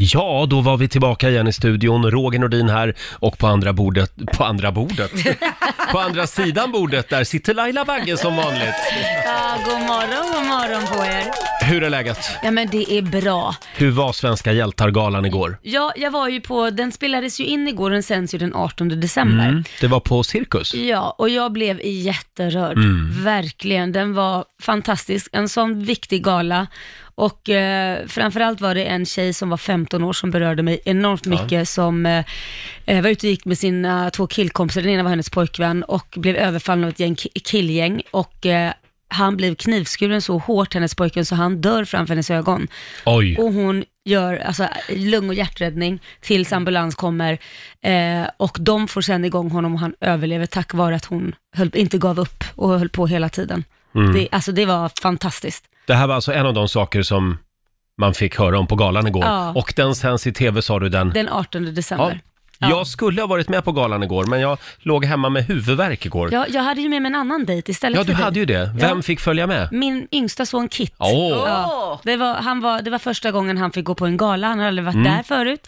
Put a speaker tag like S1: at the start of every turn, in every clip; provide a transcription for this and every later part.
S1: Ja, då var vi tillbaka igen i studion. Roger Nordin här och på andra bordet, på andra bordet? på andra sidan bordet där sitter Laila Bagge som vanligt.
S2: Ja, god morgon, god morgon på er.
S1: Hur är läget?
S2: Ja, men det är bra.
S1: Hur var Svenska hjältar-galan igår?
S2: Ja, jag var ju på, den spelades ju in igår, den sänds ju den 18 december.
S1: Mm, det var på Cirkus.
S2: Ja, och jag blev jätterörd.
S1: Mm.
S2: Verkligen, den var fantastisk. En sån viktig gala. Och eh, framförallt var det en tjej som var 15 år som berörde mig enormt
S3: Ja.
S2: mycket, som eh, var ute och gick med sina två killkompisar, den ena var hennes pojkvän, och blev överfallen av ett gäng ki- killgäng. Och, eh, han blev knivskuren så hårt, hennes pojkvän, så han dör framför hennes ögon.
S1: Oj.
S2: Och hon gör alltså, lung och hjärträddning
S1: Mm.
S2: tills ambulans kommer eh, och de får sen igång honom och han överlever tack vare att hon höll, inte gav upp och höll på hela tiden.
S1: Mm.
S2: Det, alltså det var fantastiskt.
S1: Det här var alltså en av de saker som man fick höra om på galan igår.
S2: Ja.
S1: Och den sänds i tv sa du den?
S2: Den 18 december.
S1: Jag skulle ha varit med på galan igår, men jag låg hemma med huvudvärk igår.
S2: Ja, jag hade ju med mig en annan dejt istället
S1: Ja, du
S2: för dig.
S1: hade ju det. Vem
S2: Ja.
S1: fick följa med?
S2: Min yngsta son Kit.
S1: Åh.
S2: Ja, det, var, han var, det var första gången han fick gå på en gala, han hade aldrig varit
S1: Mm.
S2: där förut.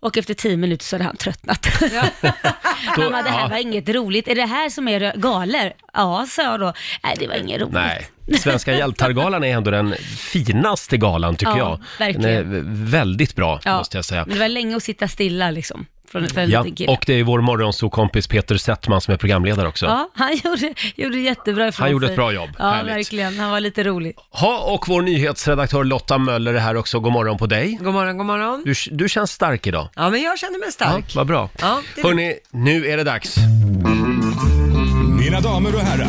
S2: Och efter tio minuter så hade han tröttnat. han bara, det här
S1: ja.
S2: var inget roligt. Är det här som är galer? Ja, sa jag då. Nej, det var inget roligt.
S1: Nej, Svenska hjältargalan är ändå den finaste galan tycker
S2: Ja,
S1: jag.
S2: verkligen.
S1: Den är väldigt bra,
S2: Ja, Mm,
S1: måste jag säga.
S2: Men det var länge att sitta stilla liksom. Från, för en
S1: Ja,
S2: liten kille.
S1: och det är vår morgonsokompis Peter Settman som är programledare också.
S2: ja, han gjorde, gjorde jättebra ifrån
S1: Han gjorde
S2: sig.
S1: ett bra jobb.
S2: Ja,
S1: Härligt.
S2: verkligen. Han var lite rolig.
S1: Ha, och vår nyhetsredaktör Lotta Möller är här också. God morgon på dig.
S4: God morgon, god morgon.
S1: Du, du känns stark idag.
S4: Ja, men jag känner mig stark.
S1: Vad bra.
S4: Ja, det är
S1: Hörni, nu är det dags.
S5: Mina damer och herrar,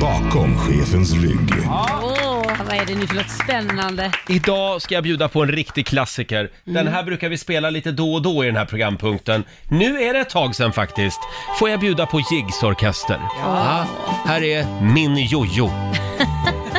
S5: bakom chefens rygg.
S2: Åh, vad är det nu för något spännande?
S1: Idag ska jag bjuda på en riktig klassiker. Den
S6: Mm.
S1: här brukar vi spela lite då och då i den här programpunkten. Nu är det ett tag sedan faktiskt. Får jag bjuda på Jiggs orkester? Ja. Här är Min Jojo.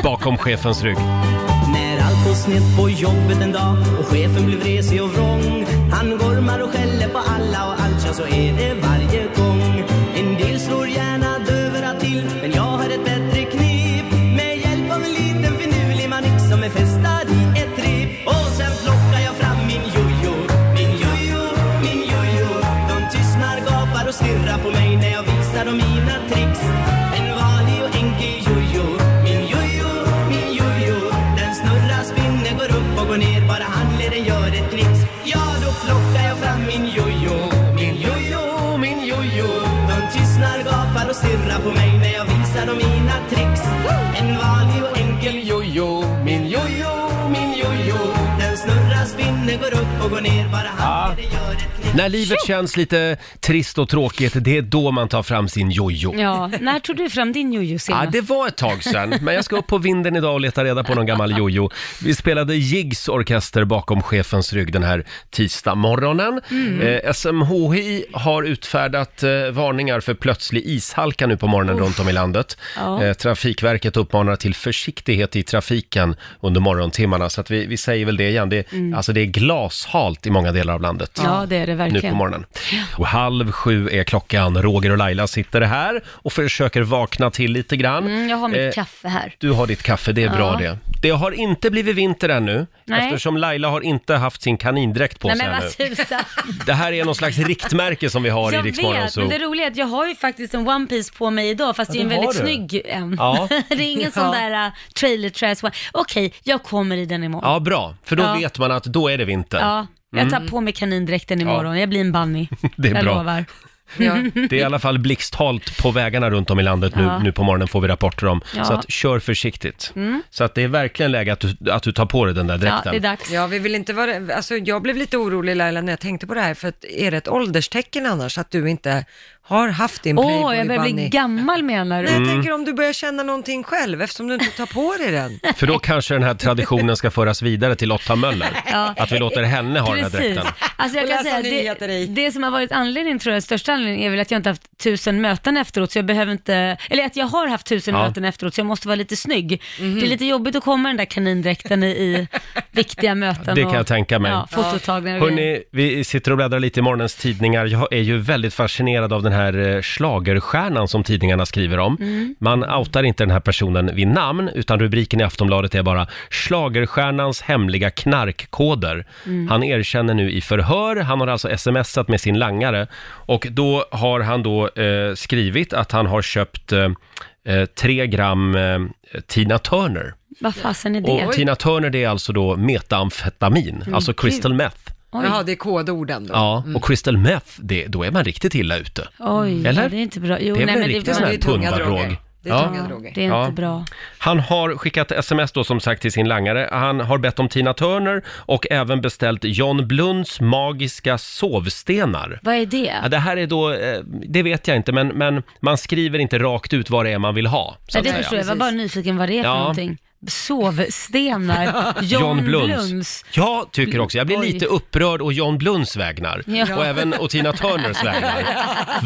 S1: Bakom chefens rygg.
S6: När allt går snett på jobbet en dag och chefen blev vresig och vrång. Han gormar och skäller på alla och allt, ja så är det varje gång. En del slår gärna dövörat till, men jag har ett bättre knep. Med hjälp av en liten finurlig manick som är fästad i ett rep. Och sen plockar jag fram min jojo, min jojo, min jojo. De tystnar, gapar och stirrar på mig när jag visar dem mina tricks. En vanlig och enkel jojo, min jojo, min jojo. Den snurrar, spinner, går upp och går ner bara handleden gör ett knix. Ja, då plockar jag fram min jojo, min jojo, min jojo. De tystnar, gapar och stirrar på mig när jag visar dem mina tricks. En vanlig och enkel jojo, min jojo, min jojo. Den snurrar, spinner, går upp och går ner bara handleden gör ett knix.
S1: När livet känns lite trist och tråkigt, det är då man tar fram sin jojo.
S2: Ja, när tog du fram din jojo senast?
S1: Ja, det var ett tag sedan, men jag ska upp på vinden idag och leta reda på någon gammal jojo. Vi spelade Jiggs orkester bakom chefens rygg den här tisdag morgonen.
S7: Mm.
S1: Eh, SMHI har utfärdat eh, varningar för plötslig ishalka nu på morgonen
S7: Uff.
S1: runt om i landet.
S7: Ja.
S1: Eh, Trafikverket uppmanar till försiktighet i trafiken under morgontimmarna, så att vi, vi säger väl det igen. Det, är-
S2: Mm.
S1: Alltså det är glashalt i många delar av landet.
S2: Ja, det är det verkligen.
S1: Nu på morgonen. Och halv sju är klockan. Roger och Laila sitter här och försöker vakna till lite grann.
S2: Mm, jag har mitt
S1: Eh,
S2: kaffe här.
S1: Du har ditt kaffe, det är bra
S2: Ja.
S1: det. Det har inte blivit vinter ännu,
S2: Nej.
S1: eftersom Laila har inte haft sin kanindräkt på
S2: Nej
S1: sig
S2: men vad
S1: ännu.
S2: tusan.
S1: Det här är någon slags riktmärke som vi har i
S2: Jag
S1: Rix
S2: vet,
S1: Morgonzoo.
S2: men det roliga är att jag har ju faktiskt en One Piece på mig idag,
S1: Ja,
S2: fast det är en
S1: det har
S2: väldigt
S1: du.
S2: snygg en.
S1: Ja.
S2: det är ingen sån
S1: Ja.
S2: där uh, trailer trash one. Okej, jag kommer i den imorgon.
S1: Ja, bra, för då
S2: Ja.
S1: vet man att då är det vinter.
S2: Ja, jag tar
S1: Mm.
S2: på mig kanindräkten imorgon. Jag blir en bunny.
S1: Det är
S2: jag
S1: bra.
S2: lovar.
S1: Det är i alla fall blixthalt på vägarna runt om i landet nu,
S2: Ja.
S1: nu på morgonen får vi rapporter om.
S2: Ja.
S1: Så att kör försiktigt.
S4: Mm.
S1: Så att det är verkligen läge att du, att du tar på dig den där dräkten.
S4: dags. Ja, vi vill inte vara, alltså, jag blev lite orolig Laila när jag tänkte på det här, för att, är det ett ålderstecken annars att du inte har haft din Playboy
S2: Åh, jag börjar bli
S4: Bunny?
S2: gammal menar du?
S4: Nej, jag
S1: Mm.
S4: tänker om du börjar känna någonting själv, eftersom du inte tar på dig den.
S1: För då kanske den här traditionen ska föras vidare till Lotta Möller.
S2: Ja.
S1: Att vi låter henne ha den här
S2: Precis.
S1: dräkten.
S2: Alltså jag
S4: Och
S2: kan
S4: läsa
S2: säga,
S4: nyheter
S2: det, det som har varit anledningen, tror jag, största anledningen är väl att jag inte haft tusen möten efteråt, så jag behöver inte, eller att jag har haft tusen
S1: Ja.
S2: möten efteråt, så jag måste vara lite snygg.
S4: Mhm.
S2: Det är lite jobbigt att komma i den där kanindräkten i, i viktiga möten.
S1: Det kan jag
S2: och-
S1: tänka mig.
S2: Ja, fototagningar och grejer.
S1: Hörni, vi sitter och bläddrar lite i morgonens tidningar. Jag är ju väldigt fascinerad av den den här eh, schlagerstjärnan som tidningarna skriver om.
S2: Mm.
S1: Man outar inte den här personen vid namn, utan rubriken i Aftonbladet är bara “Schlagerstjärnans hemliga knarkkoder”.
S2: Mm.
S1: Han erkänner nu i förhör, han har alltså smsat med sin langare och då har han då eh, skrivit att han har köpt eh, eh, tre gram eh, Tina Turner.
S2: Vad fasen är Mm, det?
S1: Och Tina Turner det är alltså då metamfetamin, alltså crystal meth.
S2: Oj.
S8: Jaha, det är kodorden då.
S1: Ja, och crystal meth, det, då är man riktigt illa ute.
S2: Oj,
S1: Eller?
S2: Mm. ja, det är inte bra. Jo,
S1: det är
S2: nej,
S1: väl
S2: men
S1: en
S2: det,
S1: riktig sån
S8: det
S1: här
S8: är tunga
S1: pundardrog.
S8: droger. Det är tunga droger.
S2: det är
S1: Ja.
S2: inte bra.
S1: Han har skickat sms då som sagt till sin langare. Han har bett om Tina Turner och även beställt John Blunds magiska sovstenar.
S2: Vad är
S1: Ja,
S2: det?
S1: det här är då, eh, det vet jag inte, men, men man skriver inte rakt ut vad det är man vill ha. Så
S2: Nej,
S1: att
S2: det
S1: säga.
S2: förstår jag. Jag var bara nyfiken vad det är för
S1: Ja.
S2: någonting. Sovstenar. John, Blunds.
S1: Jag tycker också, jag blir
S2: Oj.
S1: lite upprörd och John Blunds vägnar.
S2: Ja.
S1: Och även och Tina Turners vägnar.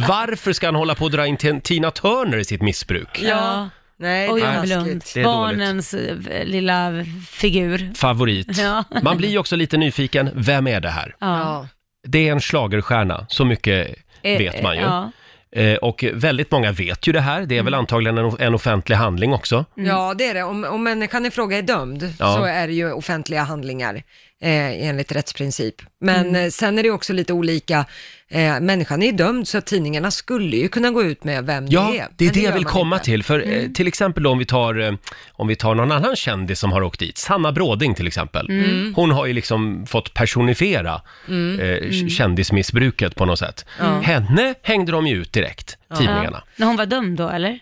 S1: Varför ska han hålla på att dra in Tin- Tina Turner i sitt missbruk?
S2: Ja.
S8: Nej,
S2: Och
S8: det
S2: John
S8: är
S2: Blund.
S8: taskigt.
S1: Det är dåligt.
S2: Barnens eh, lilla figur.
S1: Favorit.
S2: Ja.
S1: Man blir ju också lite nyfiken, vem är det här?
S2: Ja.
S8: Ja.
S1: Det är en schlagerstjärna, så mycket
S2: Eh,
S1: vet man ju.
S2: Ja.
S1: Eh, Och väldigt många vet ju det här, det är
S8: Mm.
S1: väl antagligen en, en offentlig handling också.
S8: ja, det är det. Om, om människan i fråga är dömd
S1: Mm. Ja.
S8: så är det ju offentliga handlingar eh, enligt rättsprincip. Men
S1: Mm.
S8: eh, sen är det också lite olika. Eh, människan är ju dömd så att tidningarna skulle ju kunna gå ut med vem
S1: Ja,
S8: det är.
S1: det är
S8: Men
S1: det jag
S8: gör
S1: vill
S8: man
S1: komma
S8: inte. Mm.
S1: till. För eh, till exempel då om vi, tar, eh, om vi tar någon annan kändis som har åkt dit, Sanna Bråding till exempel.
S8: Mm.
S1: Hon har ju liksom fått personifiera eh, k-
S8: Mm.
S1: kändismissbruket på något sätt. Henne hängde de ju ut direkt, tidningarna.
S2: Ja. När hon var dömd då, eller?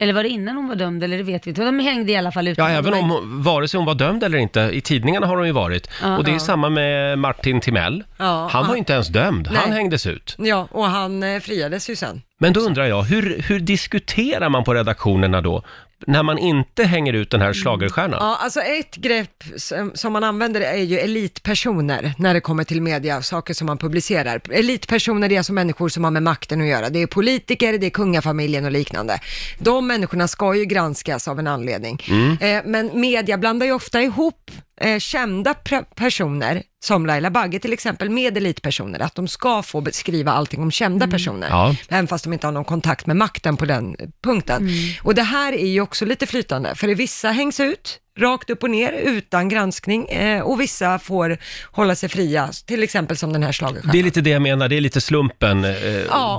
S2: Eller var det innan hon var dömd, eller det vet vi inte. De hängde i alla fall ut.
S1: Ja, även om, hon- vare sig hon var dömd eller inte, i tidningarna har hon ju varit.
S2: Ja.
S1: och det är
S8: Ja.
S1: samma med Martin Timell.
S8: Ja,
S1: Han var
S8: han-
S1: ju inte ens dömd, han
S8: Nej.
S1: hängdes ut.
S8: Ja, och han eh, friades ju sen.
S1: Men då undrar jag, hur, hur diskuterar man på redaktionerna då, när man inte hänger ut den här schlagerstjärnan?
S8: Ja, alltså ett grepp som, som man använder är ju elitpersoner när det kommer till media, saker som man publicerar. Elitpersoner det är alltså människor som har med makten att göra. Det är politiker, det är kungafamiljen och liknande. De människorna ska ju granskas av en anledning. Eh, men media blandar ju ofta ihop eh, kända pre- personer, som Laila Bagge till exempel, med elitpersoner. Att de ska få beskriva allting om kända personer
S1: Ja.
S8: även fast de inte har någon kontakt med makten på den punkten.
S1: Mm.
S8: Och det här är ju också lite flytande, för vissa hängs ut rakt upp och ner utan granskning eh, och vissa får hålla sig fria, till exempel som den här schlagerstjärnan.
S1: Det är lite det jag menar, det är lite slumpen, eh,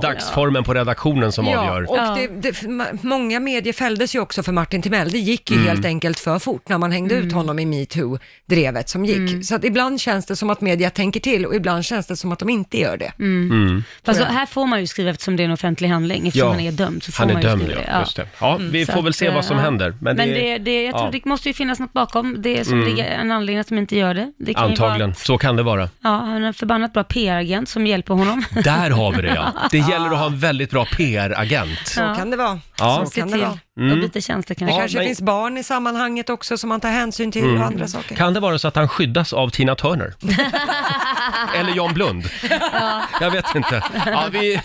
S1: dagsformen på redaktionen som avgör.
S8: och
S2: Ja.
S8: Det, det, ma- många medier fälldes ju också för Martin Timell. Det gick ju
S1: Mm.
S8: helt enkelt för fort när man hängde ut honom i metoo-drevet som gick.
S1: Mm.
S8: Så att ibland känns det som att media tänker till och ibland känns det som att de inte gör det.
S1: Mm.
S2: Fast här får man ju skriva eftersom det är en offentlig handling, eftersom
S1: Ja.
S2: han är dömd. Så får
S1: Han är
S2: man ju
S1: dömd,
S2: skriva Mm,
S1: ja. Just det. Ja, vi
S2: Så
S1: får väl
S2: att, eh,
S1: se vad som
S2: ja.
S1: händer.
S2: Men,
S1: det-
S2: det, det, jag tror
S1: ja, Mm.
S2: det måste ju finnas något bakom. Det är som ligger en anledning att de inte gör det. det kan ju
S1: Antagligen,
S2: Vara,
S1: så kan det vara.
S2: ja, han är en förbannat bra PR-agent som hjälper honom.
S1: Där har vi det ja. Det gäller att ha en väldigt bra PR-agent.
S8: Så kan det vara.
S1: Ja.
S8: Så
S2: Se
S8: kan det
S2: till
S8: vara.
S2: att
S1: Mm.
S2: byta tjänster kanske.
S8: Det
S1: Ja,
S8: kanske
S1: men-
S8: finns barn i sammanhanget också som man tar hänsyn till
S1: Mm.
S8: och andra saker.
S1: Kan det vara så att han skyddas av Tina Turner? Eller John Blund? Jag vet inte. Ja, vi,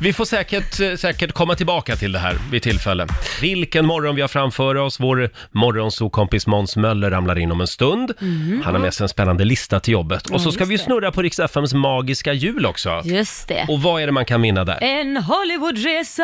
S1: vi får säkert, eh, säkert komma tillbaka till det här vid tillfälle. Vilken morgon vi har framför oss. Vår morgonsokompis Måns Möller ramlar in om en stund. Han har med sig en spännande lista till jobbet. Och så ska vi snurra på Rix FMs magiska jul också.
S2: Just det.
S1: Och vad är det man kan vinna där?
S2: En Hollywoodresa!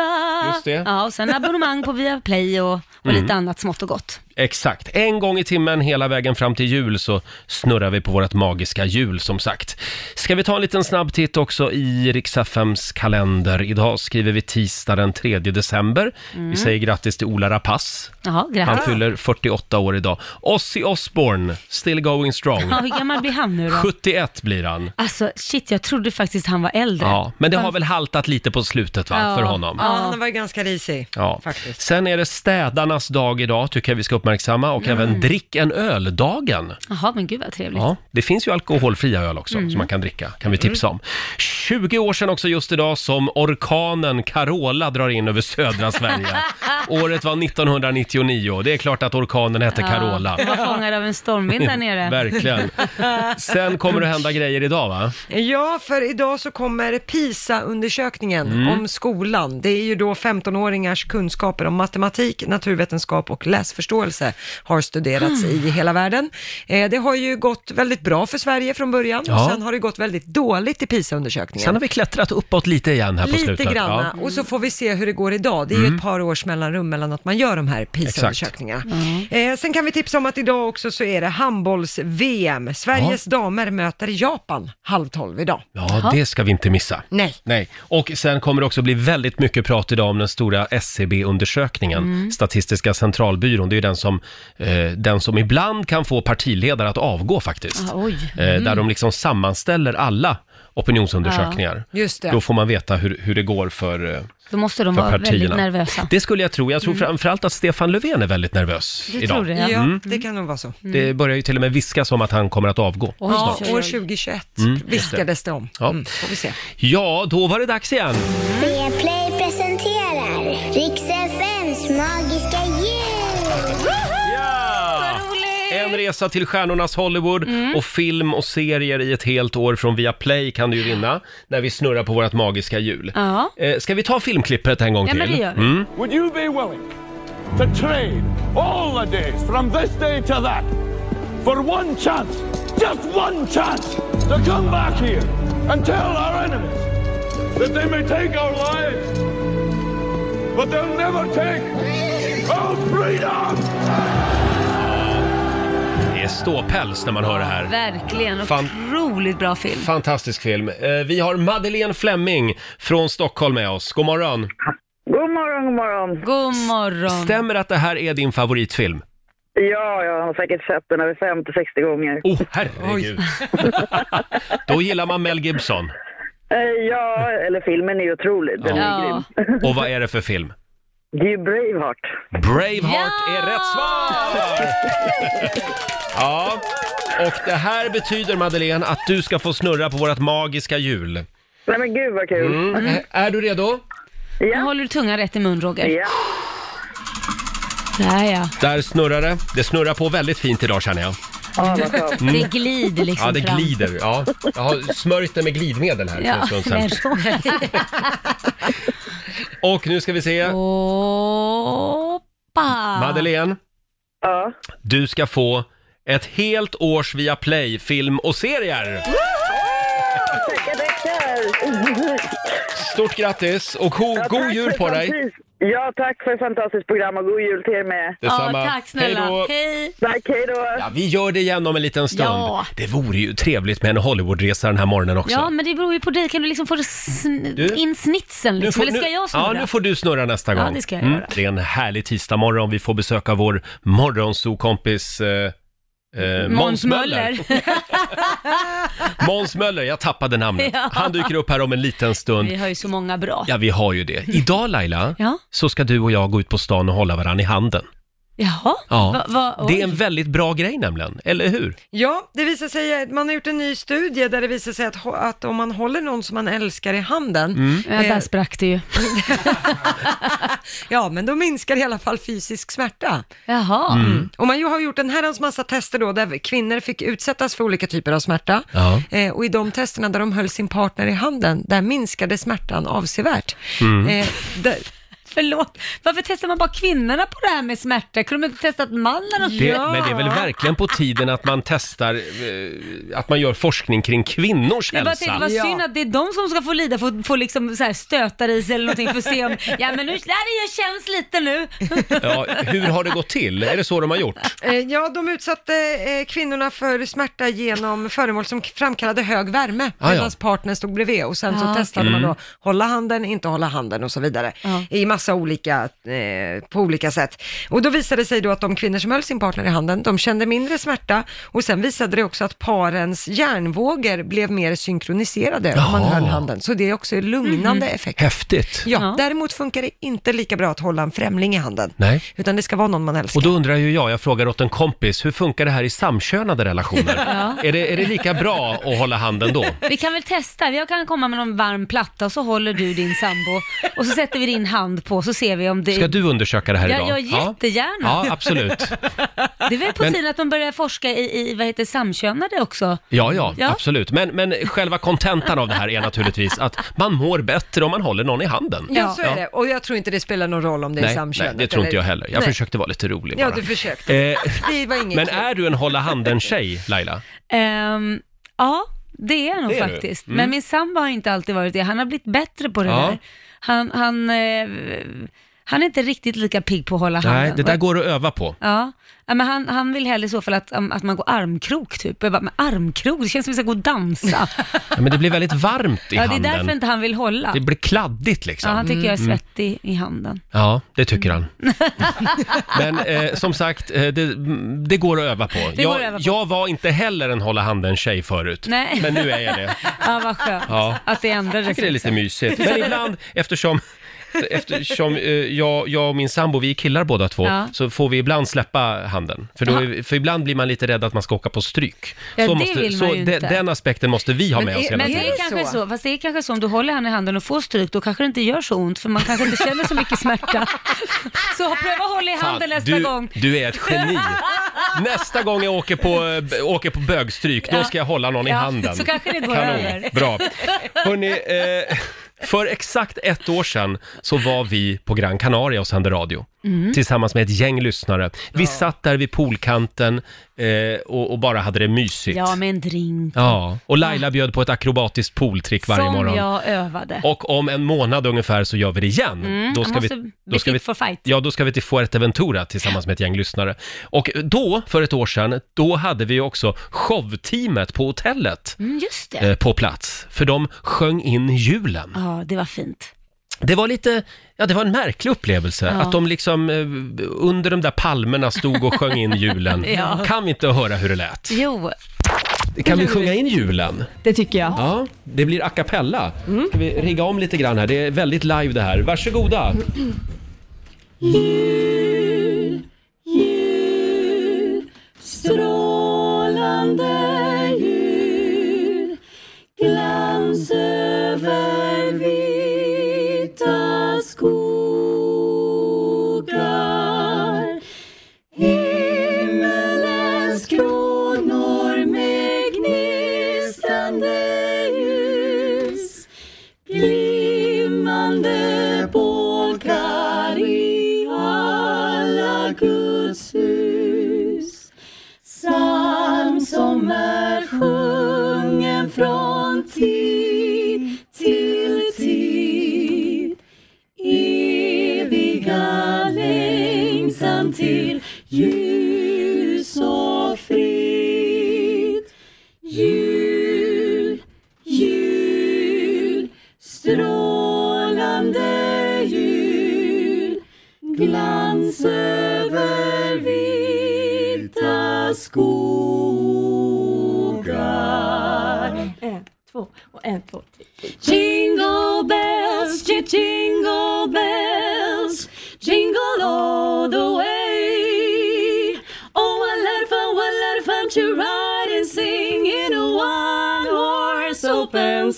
S1: Just det. Mm.
S2: Ja, och sen abonnemang på Viaplay och, och lite annat smått och gott.
S1: Exakt. En gång i timmen hela vägen fram till jul så snurrar vi på vårt magiska hjul som sagt. Ska vi ta en liten snabb titt också i Riksaffems kalender. Idag skriver vi tisdag den 3 december. Vi säger grattis till Ola Rapace.
S2: Jaha,
S1: Han
S2: grattis.
S1: fyller 48 år idag. Ozzy Osbourne, still going strong.
S2: Ja, hur gammal blir han nu då?
S1: 71 blir han.
S2: Alltså shit, jag trodde faktiskt han var äldre.
S1: Ja, men det har väl haltat lite på slutet va,
S2: Ja.
S1: för honom.
S8: Ja, han var ju ganska risig.
S1: Ja.
S8: Faktiskt.
S1: Sen är det städarnas dag idag, tycker jag vi ska uppmärksamma, och även drick en öl-dagen.
S2: Jaha, men gud vad trevligt.
S1: Ja, det finns ju alkoholfria öl också som man kan dricka, kan vi tipsa om. 20 år sedan också just idag som orkanen Carola drar in över södra Sverige. Året var 1999. Det är klart att orkanen hette Carola.
S2: Jag var fångad av en stormvind där nere.
S1: Verkligen. Sen kommer det hända grejer idag va?
S8: Ja, för idag så kommer PISA-undersökningen
S1: Mm.
S8: om skolan. Det är ju då 15-åringars kunskaper om matematik, naturvetenskap och läsförståelse har studerats
S1: Ah.
S8: i hela världen. Eh, det har ju gått väldigt bra för Sverige från början
S1: Ja.
S8: och sen har det gått väldigt dåligt i PISA-undersökningen.
S1: Sen har vi klättrat uppåt lite igen här på
S8: Lite
S1: slutet.
S8: granna,
S1: Ja. Mm.
S8: och så får vi se hur det går idag. Det är ju ett par års mellanrum mellan att man gör de här PISA-undersökningarna. Eh, sen kan vi tipsa om att idag också så är det handbolls-VM. Sveriges damer möter Japan halv tolv idag.
S1: ja, det ska vi inte missa.
S8: Nej.
S1: Nej, och sen kommer det också bli väldigt mycket prat idag om den stora SCB-undersökningen,
S2: Mm.
S1: Statistiska centralbyrån. Det är ju den som, eh, den som ibland kan få partiledare att avgå faktiskt.
S2: Ah, oj.
S1: Eh, där de liksom sammanställer alla opinionsundersökningar.
S8: Just det.
S1: Då får man veta hur, hur det går för, eh,
S2: Då måste de
S1: för
S2: vara väldigt
S1: partierna.
S2: nervösa.
S1: Det skulle jag tro. Jag tror framförallt att Stefan Löfven är väldigt nervös
S2: Jag Mm.
S1: idag.
S2: tror det.
S8: Ja,
S2: Ja.
S1: Mm.
S8: det kan nog vara så.
S1: Det börjar ju till och med viskas om att han kommer att avgå.
S2: Oj,
S8: Ja,
S2: oj, oj.
S8: år 2021 viskades det om.
S1: Mm, Ja.
S8: Mm, får vi se.
S1: Ja, då var det dags igen.
S3: Play presenterar Rix FMs magiska jul!
S1: Ja! En resa till stjärnornas Hollywood
S2: Mm.
S1: och film och serier i ett helt år från Viaplay kan du ju vinna när vi snurrar på vårt magiska hjul.
S2: Ja.
S1: Eh, Ska vi ta filmklippet en gång
S2: Ja,
S1: till? Mm.
S2: men det gör vi.
S9: Would you be willing to trade all the days from this day to that for one chance, just one chance, to come back here and tell our enemies that they may take our lives, but they'll never take our freedom?
S1: Det är ståpäls när man hör det här.
S2: Verkligen.
S1: Fan.
S2: Otroligt bra film.
S1: Fantastisk film. Eh, Vi har Madeleine Flemming från Stockholm med oss. God morgon.
S10: God morgon, god morgon.
S2: God morgon.
S1: Stämmer att det här är din favoritfilm?
S10: Ja, jag har säkert sett den över 50-60 gånger.
S1: Åh, oh, herregud. Då gillar man Mel Gibson.
S10: Eh, Ja, eller filmen är ju otrolig. Den är grym.
S2: Ja.
S1: Och vad är det för film?
S10: Det är ju Braveheart.
S1: Braveheart
S2: Ja!
S1: är rätt svar! ja, och det här betyder Madeleine att du ska få snurra på vårt magiska hjul.
S10: Nej men gud vad kul.
S2: Mm.
S1: Eh, Är du redo?
S2: Nu
S10: Ja,
S2: håller du tungan rätt i mun, Roger.
S10: ja.
S2: Där ja.
S1: Där snurrar det. Det snurrar på väldigt fint idag känner jag. Mm.
S10: Ah, vad skönt.
S2: Det glider liksom
S1: Ja, det
S2: fram.
S1: glider. Ja. Jag har smörjt det med glidmedel här för en
S2: Ja,
S1: stund
S2: men
S1: sedan.
S2: Roger.
S1: Och nu ska vi se.
S2: Hoppa!
S1: Madeleine,
S10: Ja.
S1: du ska få ett helt års Viaplay film och serier.
S10: Tackar, tackar.
S1: Stort grattis och go-
S10: Ja,
S1: god
S10: tack
S1: jul
S10: för
S1: på dig.
S10: fantastiskt- Ja, tack för ett fantastiskt program och god jul till er med.
S2: Ja,
S1: Detsamma.
S2: tack snälla.
S1: Hej då.
S2: Hej.
S10: Tack, hej då.
S1: Ja, vi gör det igen om en liten stund.
S2: Ja.
S1: Det vore ju trevligt med en Hollywoodresa den här morgonen också.
S2: Ja, men det beror ju på dig. Kan du liksom få det sn-
S1: Du?
S2: in snitsen liksom? Eller ska jag snurra?
S1: Ja, nu får du snurra nästa
S2: Ja,
S1: gång. Mm.
S2: det ska jag göra.
S1: Det är en härlig tisdagmorgon. Vi får besöka vår morgonsokompis eh, eh, Måns Möller. Måns Möller, jag tappade namnet.
S2: Ja.
S1: Han dyker upp här om en liten stund.
S2: Vi har ju så många bra.
S1: Ja, vi har ju det. Idag Laila,
S2: Ja.
S1: så ska du och jag gå ut på stan och hålla varandra i handen.
S2: Jaha?
S1: Ja.
S2: Va, va,
S1: Det är
S2: oj.
S1: en väldigt bra grej nämligen, eller hur?
S8: Ja, det visar sig, man har gjort en ny studie där det visar sig att, ho- att om man håller någon som man älskar i handen,
S1: Mm.
S2: Ja, där sprack det ju.
S8: ja men då minskar i alla fall fysisk smärta.
S2: Jaha.
S1: Mm.
S8: Och man ju har gjort en herrans massa tester då där kvinnor fick utsättas för olika typer av smärta.
S1: Ja.
S8: Eh, och i de testerna där de höll sin partner i handen, där minskade smärtan avsevärt. Eh, där,
S2: Förlåt, varför testar man bara kvinnorna på det här med smärta? Kunde de inte testat mannen också?
S1: Det, Men det är väl verkligen på tiden att man testar, eh, att man gör forskning kring kvinnors
S2: Jag bara
S1: hälsa.
S2: tänkte, vad synd att det är de som ska få lida, få, få liksom så här stötar i sig eller någonting för att se om, ja men nu, nej, det känns lite nu.
S1: Ja, hur har det gått till? Är det så de har gjort?
S8: Eh, Ja, de utsatte eh, kvinnorna för smärta genom föremål som k- framkallade hög värme
S1: Ah, ja. Mm.
S8: medan partnern stod bredvid och sen så
S2: Ah,
S8: testade man då hålla handen, inte hålla handen och så vidare
S2: Ja.
S8: i massa olika, eh, på olika sätt. Och då visade det sig då att de kvinnor som höll sin partner i handen, de kände mindre smärta och sen visade det också att parens hjärnvågor blev mer synkroniserade om man
S1: Jaha.
S8: höll handen. Så det är också lugnande effekt.
S1: Häftigt.
S8: Ja,
S2: Mhm. Ja.
S8: däremot funkar det inte lika bra att hålla en främling i handen,
S1: Nej.
S8: utan det ska vara någon man älskar.
S1: Och då undrar ju jag, jag frågar åt en kompis, hur funkar det här i samkönade relationer? Är, det, är det lika bra att hålla handen då?
S2: Vi kan väl testa, jag kan komma med någon varm platta och så håller du din sambo och så sätter vi din hand på på så ser vi om det...
S1: Ska du undersöka det här
S2: Ja,
S1: idag?
S2: jag jättegärna.
S1: Ja, absolut.
S2: Det är väl på
S1: Men-
S2: tiden att man börjar forska i, i vad heter samkönade också?
S1: Ja, ja,
S2: Ja.
S1: absolut. Men, men själva kontentan av det här är naturligtvis att man mår bättre om man håller någon i handen.
S4: Ja, så
S1: Ja.
S4: är det. Och jag tror inte det spelar någon roll om det är
S1: Nej, nej,
S4: samkönat.
S1: det tror inte
S4: eller-
S1: jag heller. Jag
S4: Nej.
S1: försökte vara lite rolig bara.
S4: Ja, du försökte.
S1: Eh,
S4: Det var inget
S1: men
S4: kul.
S1: är du en hålla handen-tjej, Laila?
S2: Ehm, ja, det är jag nog
S1: Det är du.
S2: faktiskt. Men min sambo har inte alltid varit det. Han har blivit bättre på det
S1: Ja.
S2: där. Han, han, eh, han är inte riktigt lika pigg på att hålla handen.
S1: Nej, det där går att öva på.
S2: Ja, Ja, men han, han vill hellre i så fall att, um, att man går armkrok typ. Jag bara, men armkrok, det känns som att vi ska gå och dansa.
S1: Ja, men det blir väldigt varmt i
S2: ja, det är
S1: handen.
S2: därför inte han vill hålla.
S1: Det blir kladdigt liksom.
S2: Ja, Mm. han tycker jag är svettig i handen.
S1: Ja, det tycker han. Men eh, som sagt, eh, det, mm, det går att öva på.
S2: Det går
S1: Jag,
S2: att öva på.
S1: jag var inte heller en hålla handen-tjej förut,
S2: Nej.
S1: men nu är jag det.
S2: Ja, vad skönt
S1: Ja.
S2: att det ändrades.
S1: tycker det är lite mysigt. Men ibland, eftersom, eftersom eh, jag, jag och min sambo, vi är killar båda två,
S2: Ja.
S1: så får vi ibland släppa handen. För, då är, för ibland blir man lite rädd att man ska åka på stryk.
S2: Ja,
S1: så
S2: det
S1: måste,
S2: vill
S1: så
S2: man ju
S1: de-
S2: inte.
S1: Den aspekten måste vi ha
S4: Men
S1: med
S4: är-
S1: oss
S4: men
S1: hela
S2: Men
S1: tiden.
S2: det är kanske så. Fast det är kanske så om du håller henne i handen och får stryk, då kanske det inte gör så ont, för man kanske inte känner så mycket smärta. Så pröva att hålla i
S1: Fan,
S2: handen nästa
S1: du,
S2: gång.
S1: du är ett geni. Nästa gång jag åker på, eh, b- åker på bögstryk, då
S2: Ja.
S1: ska jag hålla någon i
S2: Ja,
S1: handen.
S2: så kanske det går över.
S1: Bra. Hörrni, eh, för exakt ett år sedan så var vi på Gran Canaria och sände radio.
S2: Mm.
S1: Tillsammans med ett gäng lyssnare. Vi satt där vid poolkanten eh, och, och bara hade det mysigt.
S2: Ja, med en drink.
S1: Ja, och Laila bjöd på ett akrobatiskt pooltrick varje
S2: som
S1: morgon.
S2: jag övade. Mm,
S1: Och om en månad ungefär så gör vi det igen. då
S2: jag
S1: ska
S2: måste
S1: vi,
S2: bli
S1: då ska
S2: fit
S1: vi,
S2: for fight.
S1: Ja, då ska vi till Fuerteventura tillsammans med ett gäng lyssnare. Och då, för ett år sedan, då hade vi ju också showteamet på hotellet
S2: Mm, just det.
S1: eh, på plats. För de sjöng in julen.
S2: Ja, det var fint.
S1: Det var lite, ja det var en märklig upplevelse.
S2: Ja.
S1: Att de liksom eh, under de där palmerna stod och sjöng in julen.
S2: Ja.
S1: Kan vi inte höra hur det lät?
S2: Jo,
S1: Kan vi sjunga in julen?
S9: Det tycker jag.
S1: Ja, det blir a cappella. Ska vi rigga om lite grann här? Det är väldigt live det här. Varsågoda!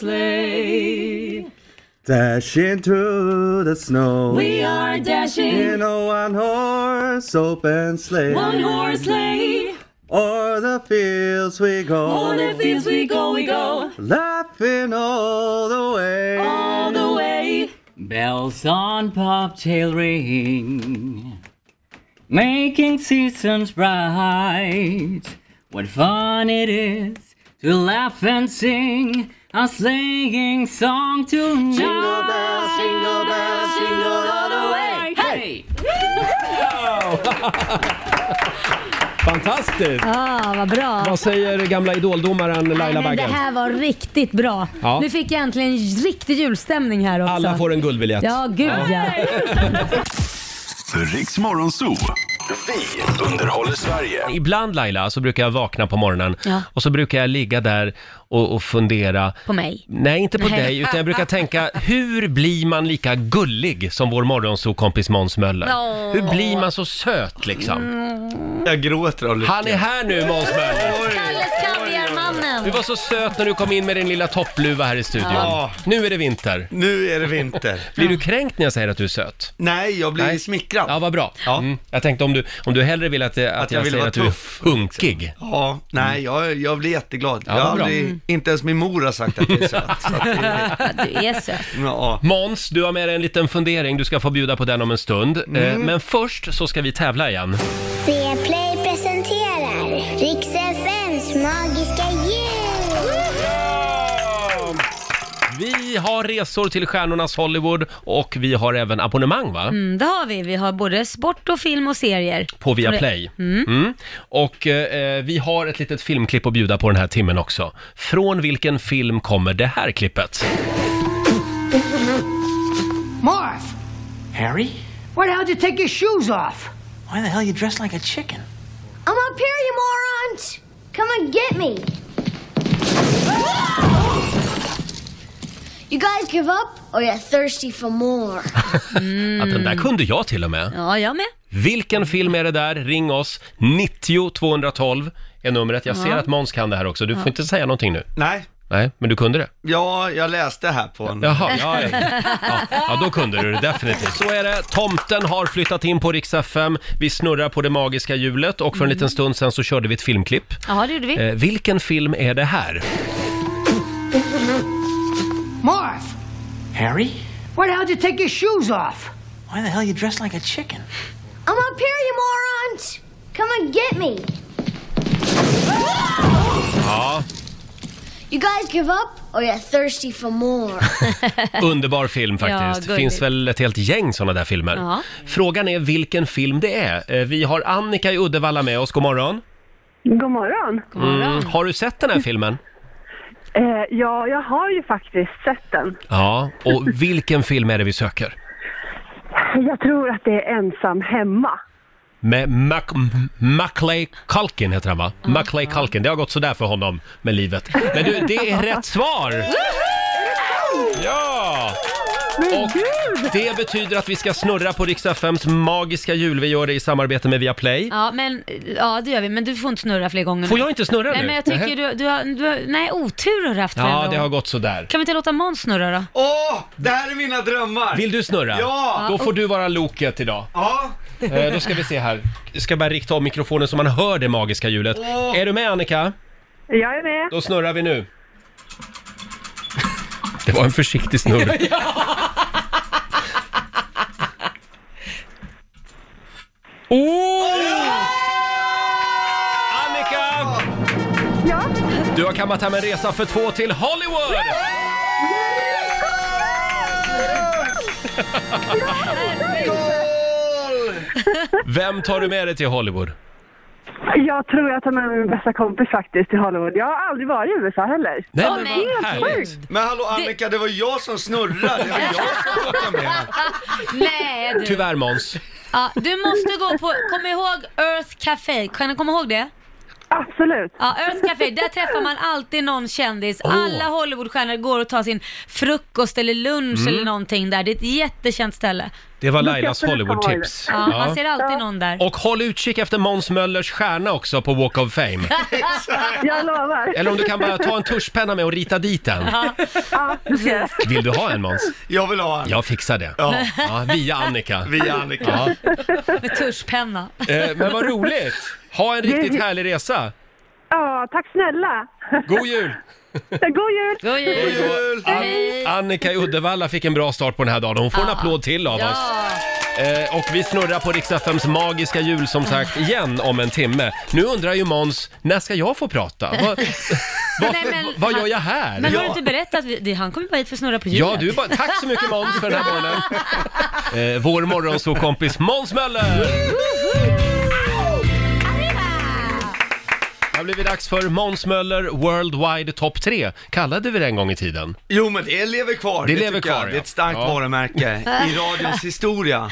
S11: Oh, Dash into the snow. We are dashing in a one horse open sleigh. One horse sleigh. O'er the fields we go. O'er the fields we go, we go. Laughing all the way. All the way.
S6: Bells on bobtail ring, making seasons bright. What fun it is to laugh and sing a sleighing song tonight.
S11: Jingle bells, jingle bells, jingle all the way.
S6: Hey!
S1: Fantastiskt!
S12: Ja, Ah, vad bra.
S1: Vad säger gamla idoldomaren
S12: Nej,
S1: Laila
S12: men det
S1: Bagge?
S12: här var riktigt bra.
S1: Ja.
S12: Nu fick jag äntligen riktig julstämning här också.
S1: Alla får en guldbiljett.
S12: Ja, gud ja.
S5: Riks Morgonzoo. Vi underhåller Sverige.
S1: Ibland Laila så brukar jag vakna på morgonen
S2: Ja.
S1: och så brukar jag ligga där och, och fundera.
S2: på mig.
S1: Nej, inte på
S2: Nej.
S1: dig, utan jag brukar tänka hur blir man lika gullig som vår morgonsokompis Måns Möller?
S2: Åh.
S1: Hur blir man så söt liksom?
S11: Jag gråter av lycka.
S1: Han är här nu Måns Möller!
S12: Kalles Kaviarmannen.
S1: Du var så söt när du kom in med din lilla toppluva här i studion.
S9: Ja.
S1: Nu är det vinter.
S9: Nu är det vinter.
S1: Blir du kränkt när jag säger att du är söt?
S9: Nej, jag blir smickrad.
S1: Ja, vad bra. Mm. Jag tänkte om du, om du hellre vill att, eh, att, att jag,
S9: jag vill
S1: säger
S9: vara
S1: att du är
S9: tuff.
S1: hunkig.
S9: Ja, nej, jag, jag blir jätteglad.
S1: Ja,
S9: jag
S1: vad
S9: har
S1: bra.
S9: aldrig,
S1: Mm.
S9: inte ens min mor har sagt att jag är söt.
S2: Du är söt.
S9: Ja.
S1: Måns, du har med dig en liten fundering. Du ska få bjuda på den om en stund.
S3: Mm.
S1: Eh, Men först så ska vi tävla igen.
S3: Viaplay presenterar Riks FMs magiska jul.
S1: Vi har resor till stjärnornas Hollywood och vi har även abonnemang va?
S2: Mm, det har vi. Vi har både sport och film och serier.
S1: På Viaplay.
S2: Mm.
S1: Mm. Och eh, vi har ett litet filmklipp att bjuda på den här timmen också. Från vilken film kommer det här klippet?
S13: Marv,
S1: Harry?
S13: where the hell did you take your shoes off?
S14: Why the hell you dressed like a chicken?
S13: I'm up here, you morons! Come and get me! You guys give up or you're thirsty for more?
S1: Att den där kunde jag till och med.
S2: Ja, jag med.
S1: Vilken film är det där? Ring oss. 90 212 är numret. Jag ser
S9: Ja.
S1: att Måns kan det här också. Du får
S9: Ja.
S1: inte säga någonting nu.
S9: Nej.
S1: Nej, men du kunde det.
S9: Ja, jag läste här på en...
S1: Jaha, ja, ja. Ja, då kunde du det definitivt. Så är det. Tomten har flyttat in på Rix FM. Vi snurrar på det magiska hjulet och för en liten stund sen så körde vi ett filmklipp.
S2: Ja, det gjorde vi.
S1: Eh, vilken film är det här?
S13: Marv,
S14: Harry?
S13: where the hell did you take your shoes off?
S14: Why the hell you dressed like a chicken?
S13: I'm up here, you morons! Come and get me!
S1: Ja,
S13: You guys give up or you're thirsty for more?
S1: underbar film
S13: Ja,
S1: faktiskt.
S13: gulligt.
S1: Finns väl ett helt gäng sådana där filmer.
S13: Ja.
S1: Frågan är vilken film det är. Eh, vi har Annika i Uddevalla med oss. God morgon.
S15: God morgon.
S1: Mm, har du sett den här filmen?
S15: Eh, ja, jag har ju faktiskt sett den.
S1: Ja, och vilken film är det vi söker?
S15: Jag tror att det är Ensam hemma.
S1: Med Mac M- Maclay Culkin heter han va? Maclay Culkin, det har gått sådär för honom med livet. Men du, det är rätt svar! Ja! Och det betyder att vi ska snurra på Rix FMs magiska jul. Vi gör det i samarbete med Viaplay.
S2: Ja, men, ja, det gör vi. Men du får inte snurra fler gånger.
S1: Får jag inte snurra
S2: nej,
S1: nu?
S2: Men jag tycker du, du, har, du har, Nej, otur har du haft varenda
S1: Ja, det
S2: gång.
S1: har gått sådär.
S2: Kan vi inte låta Måns snurra då?
S9: Åh, det här är mina drömmar!
S1: Vill du snurra?
S9: Ja!
S1: Då får du vara loket idag.
S9: Ja!
S1: Eh, då ska vi se här. Jag ska bara rikta av mikrofonen så man hör det magiska ljudet. Är du med Annika?
S15: Jag är med.
S1: Då snurrar vi nu. Det var en försiktig snurr. Oh! Annika!
S15: Ja?
S1: Du har kammat hem en resa för två till Hollywood! Vem tar du med dig till Hollywood?
S15: Jag tror jag tar med mig min bästa kompis faktiskt till Hollywood. Jag har aldrig varit i USA heller.
S1: Nej,
S9: men vad härligt. Men hallå Annika, det var jag som snurrade. Det var jag som plockade med.
S2: Nej, du.
S1: Tyvärr Måns.
S2: Ja, du måste gå på, kom ihåg Earth Café. Kan du komma ihåg det?
S15: Absolut.
S2: Ja, Earth Café, där träffar man alltid någon kändis.
S1: Åh.
S2: Alla Hollywoodstjärnor går och tar sin frukost eller lunch
S1: Mm.
S2: eller någonting där. Det är ett jättekänt ställe.
S1: Det var Lailas Hollywood-tips.
S2: Ja, man ser alltid någon där.
S1: Och håll utkik efter Måns Möllers stjärna också på Walk of Fame.
S15: Jag lovar.
S1: Eller om du kan bara ta en tuschpenna med och rita dit den.
S15: Ja, det ska jag.
S1: Vill du ha en Måns?
S9: Jag vill ha en.
S1: Jag fixar det.
S9: Ja.
S1: via Annika.
S9: Via Annika.
S1: Ja.
S2: Med tuschpenna.
S1: Eh, Men vad roligt! Ha en riktigt härlig resa!
S15: Ja, tack snälla.
S1: God jul!
S15: God jul!
S2: God
S1: jul! Annika i Uddevalla fick en bra start på den här dagen. Hon får en
S2: Ja.
S1: applåd till av
S2: Ja.
S1: oss. Eh, Och vi snurrar på Rix FMs magiska jul som sagt igen om en timme. Nu undrar ju Måns, när ska jag få prata? Vad, vad,
S2: Nej, men-
S1: vad gör jag här?
S2: Men har du inte berättat? Vi, det, han kommer ju bara hit för att snurra på hjulet.
S1: Ja, du är bara, tack så mycket Måns för den här morgonen. Eh, vår morgonsåkompis Måns Möller! Det har blivit dags för Måns Möller Worldwide Top 3. Kallade vi det en gång i tiden?
S9: Jo men det lever kvar.
S1: Det lever
S9: tycker jag.
S1: kvar, ja.
S9: Det är ett starkt
S1: Ja.
S9: varumärke i radions historia.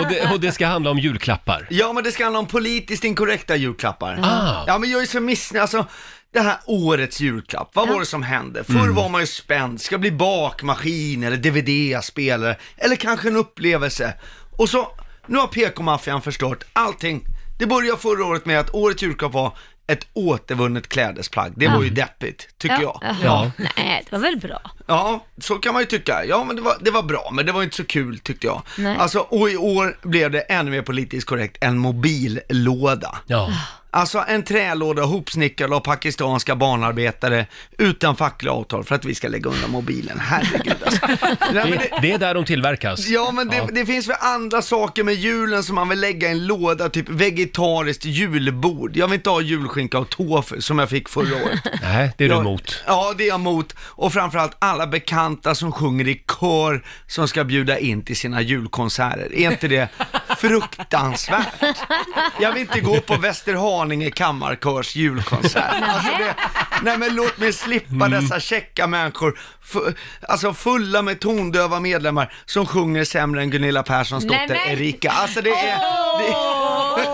S1: Och det, och det ska handla om julklappar.
S9: Ja, men det ska handla om politiskt inkorrekta julklappar.
S1: Ah.
S9: Ja, men jag är så missnöjd. Alltså, det här årets julklapp, vad var det som hände? Förr
S2: Mm.
S9: var man ju spänd, ska bli bakmaskin eller DVD-spelare eller kanske en upplevelse. Och så, nu har PK-maffian förstört allting. Det började förra året med att årets julklapp var ett återvunnet klädesplagg. Det
S2: Ja.
S9: var ju deppigt, tycker
S2: ja.
S9: jag.
S2: Ja. Nej, det var väl bra.
S9: Ja, så kan man ju tycka. Ja, men det var, det var bra, men det var inte så kul tyckte jag.
S2: Nej.
S9: Alltså, och i år blev det ännu mer politiskt korrekt, en mobillåda.
S1: Ja.
S9: Alltså en trälåda hopsnickrad av pakistanska barnarbetare utan fackliga avtal för att vi ska lägga undan mobilen. Herregud alltså. Nej, men det,
S1: Det är där de tillverkas.
S9: Ja men det, det finns väl andra saker med julen som man vill lägga i en låda, typ vegetariskt julbord. Jag vill inte ha julskinka och tofu som jag fick förra året.
S1: Nej, det är du
S9: Ja.
S1: emot.
S9: Ja, det är jag emot. Och framförallt alla bekanta som sjunger i kör som ska bjuda in till sina julkonserter. Är inte det fruktansvärt? Jag vill inte gå på Västerhaninge kammarkörs julkonsert. Alltså det, nej men låt mig
S1: Mm.
S9: slippa dessa käcka människor, fu- alltså fulla med tondöva medlemmar som sjunger sämre än Gunilla Perssons
S7: Nej,
S9: dotter
S7: men-
S9: Erika. Alltså det är... Det,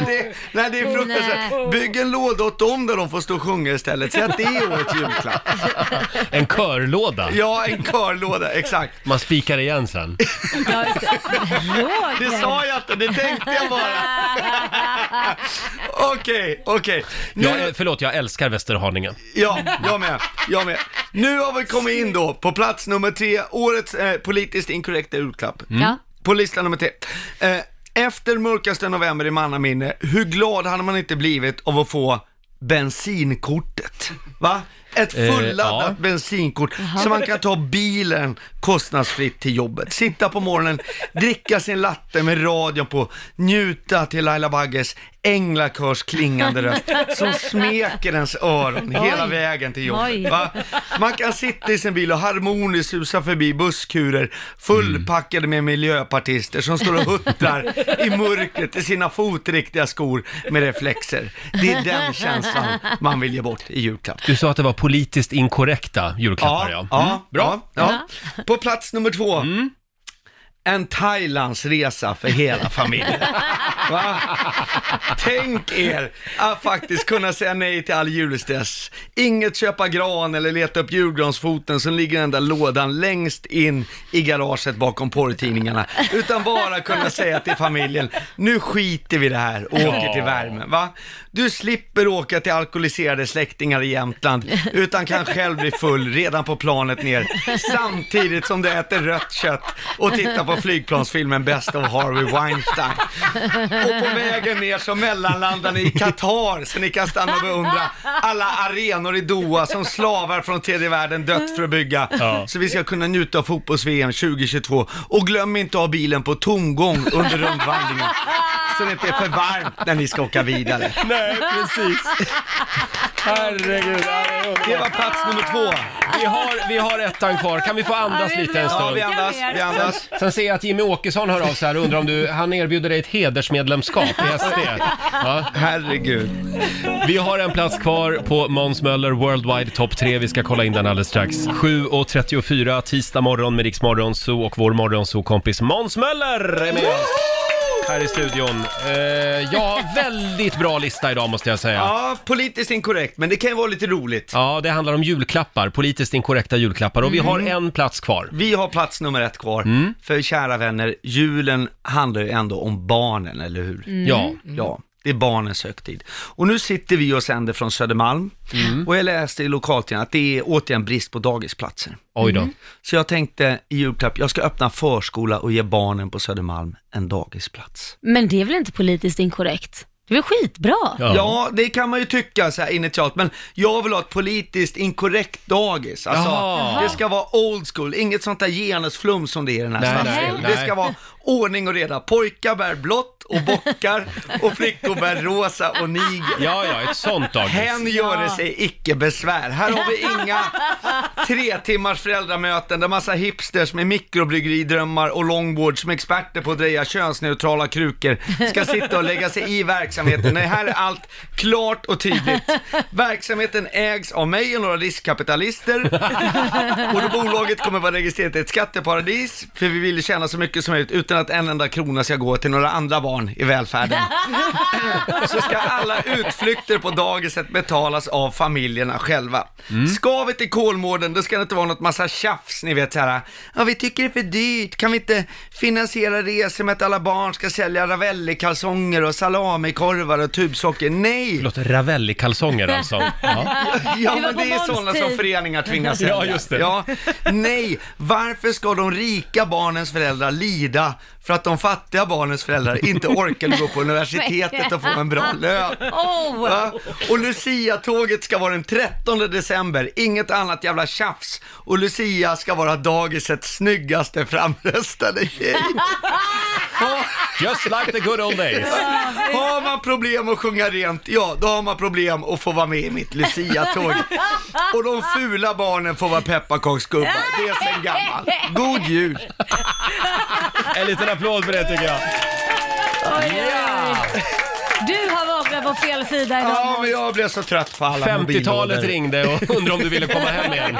S9: det, nej det är fruktansvärt. Bygg en låda åt dem där de får stå och sjunga istället. Säg att det är årets julklapp.
S1: En körlåda.
S9: Ja, en körlåda, exakt.
S1: Man spikar igen sen.
S9: Det sa jag inte, det tänkte jag bara. Okej, okej.
S1: Jag, eh, förlåt, jag älskar Västerhaninge.
S9: Ja, jag med. Jag med. Nu har vi kommit in då på plats nummer tre, årets eh, politiskt inkorrekta julklapp.
S1: Mm. Ja.
S9: På lista nummer tre. Eh, efter mörkaste november i mannaminne, hur glad hade man inte blivit av att få bensinkortet? Va? Ett
S1: Eh,
S9: fulladdat
S1: ja.
S9: bensinkort
S1: Jaha.
S9: så man kan ta bilen kostnadsfritt till jobbet. Sitta på morgonen, dricka sin latte med radion på, njuta till Laila Bagges änglakörs klingande röst som smeker ens öron hela
S7: Oj.
S9: vägen till
S7: Oj.
S9: jobbet. Va? Man kan sitta i sin bil och harmoniskt susa förbi busskurer fullpackade med miljöpartister som står och huttrar i mörkret i sina fotriktiga skor med reflexer. Det är den känslan man vill ge bort i julklapp.
S1: Du sa att det var politiskt inkorrekta julklappar, ja.
S9: Ja,
S1: Mm.
S9: ja,
S1: Bra. Mm.
S9: ja, ja. På plats nummer två. En Thailandsresa för hela familjen. Va? Tänk er att faktiskt kunna säga nej till all julstress. Inget köpa gran eller leta upp julgransfoten som ligger i den där lådan längst in i garaget bakom porrtidningarna. Utan bara kunna säga till familjen, nu skiter vi i det här och åker till
S7: Ja.
S9: värmen. Va? Du slipper åka till alkoholiserade släktingar i Jämtland, utan kan själv bli full redan på planet ner, samtidigt som du äter rött kött och tittar på flygplansfilmen Best of Harvey Weinstein. Och på vägen ner så mellanlandar ni i Qatar så ni kan stanna och beundra alla arenor i Doha som slavar från tredje världen dött för att bygga.
S7: Ja.
S9: Så vi ska kunna njuta av fotbolls-VM 2022. Och glöm inte att ha bilen på tomgång under rundvandringen. Så det inte är för varmt när ni ska åka vidare.
S1: Nej, precis. Herregud,
S9: det var plats nummer två.
S1: Vi har, vi har ettan kvar, kan vi få andas
S9: Ja, vi
S1: lite en
S9: andas,
S1: stund?
S9: vi andas, vi andas.
S1: Sen ser jag att Jimmy Åkesson hör av sig här och undrar om du, han erbjuder dig ett hedersmedlemskap i SD. Ja.
S9: Herregud.
S1: Vi har en plats kvar på Måns Möller Worldwide Top 3, vi ska kolla in den alldeles strax. 7.34 tisdag morgon med Rix Morgon Zoo och vår morgonzoo-kompis Måns Möller är med oss här i studion. Eh, ja, väldigt bra lista idag måste jag säga.
S9: Ja, politiskt inkorrekt, men det kan ju vara lite roligt.
S1: Ja, det handlar om julklappar, politiskt inkorrekta julklappar och vi har
S9: Mm.
S1: en plats kvar.
S9: Vi har plats nummer ett kvar. För kära vänner, julen handlar ju ändå om barnen, eller hur?
S1: Mm. Ja.
S9: ja. Det är barnens högtid. Och nu sitter vi och sänder från Södermalm. Och jag läste i lokaltidningen att det är återigen brist på dagisplatser.
S1: Oj då. Mm.
S9: Så jag tänkte i julklapp, jag ska öppna förskola och ge barnen på Södermalm en dagisplats.
S2: Men det är väl inte politiskt inkorrekt? Det är väl skitbra?
S9: Ja. det kan man ju tycka så här initialt, men jag vill ha ett politiskt inkorrekt dagis. Alltså,
S1: Jaha.
S9: det ska vara old school, inget sånt där genusflum som det är i den här
S1: Nej,
S9: stadsdelen.
S1: nej,
S9: Det
S1: nej.
S9: ska vara ordning och reda. Pojkar bär blått och bockar och flickor bär rosa och niger.
S1: Ja, ja, ett sånt dagis.
S9: Hen gör det sig icke besvär. Här har vi inga tre timmars föräldramöten där massa hipsters med mikrobryggeridrömmar och longboard som experter på att dreja könsneutrala krukor ska sitta och lägga sig i verksamheten. Nej, här är allt klart och tydligt. Verksamheten ägs av mig och några riskkapitalister och då bolaget kommer vara registrerat i ett skatteparadis för vi vill tjäna så mycket som möjligt utan att en enda krona ska gå till några andra barn i välfärden. Så ska alla utflykter på dagiset betalas av familjerna själva. Ska vi till Kolmården, då ska det inte vara något massa tjafs, ni vet så här. Ja, vi tycker det är för dyrt, kan vi inte finansiera resor med att alla barn ska sälja Ravelli-kalsonger och salamikorvar och tubsocker? Nej!
S1: Förlåt, Ravelli-kalsonger alltså. Ja.
S9: Ja,
S16: Det var
S9: men
S16: på
S9: det är
S16: Måns
S9: sådana
S16: tid.
S9: som föreningar tvingas sälja.
S1: Ja, just det.
S9: Ja. Nej, varför ska de rika barnens föräldrar lida för att de fattiga barnens föräldrar inte orkade gå på universitetet och få en bra lön?
S16: Oh.
S9: Va? Och Lucia-tåget ska vara den 13 december, inget annat jävla tjafs. Och Lucia ska vara dagisets snyggaste framröstade tjej.
S1: Just like the good old days.
S9: Har man problem att sjunga rent, ja då har man problem att få vara med i mitt Lucia-tåg. Och de fula barnen får vara pepparkaksgubbar, det är sen gammalt. God jul!
S1: En liten applåd för det tycker jag.
S2: Du har varit på fel sida idag.
S9: Ja, men jag blev så trött på alla
S1: 50-talet
S9: mobilådor.
S1: ringde och undrade om du ville komma hem igen.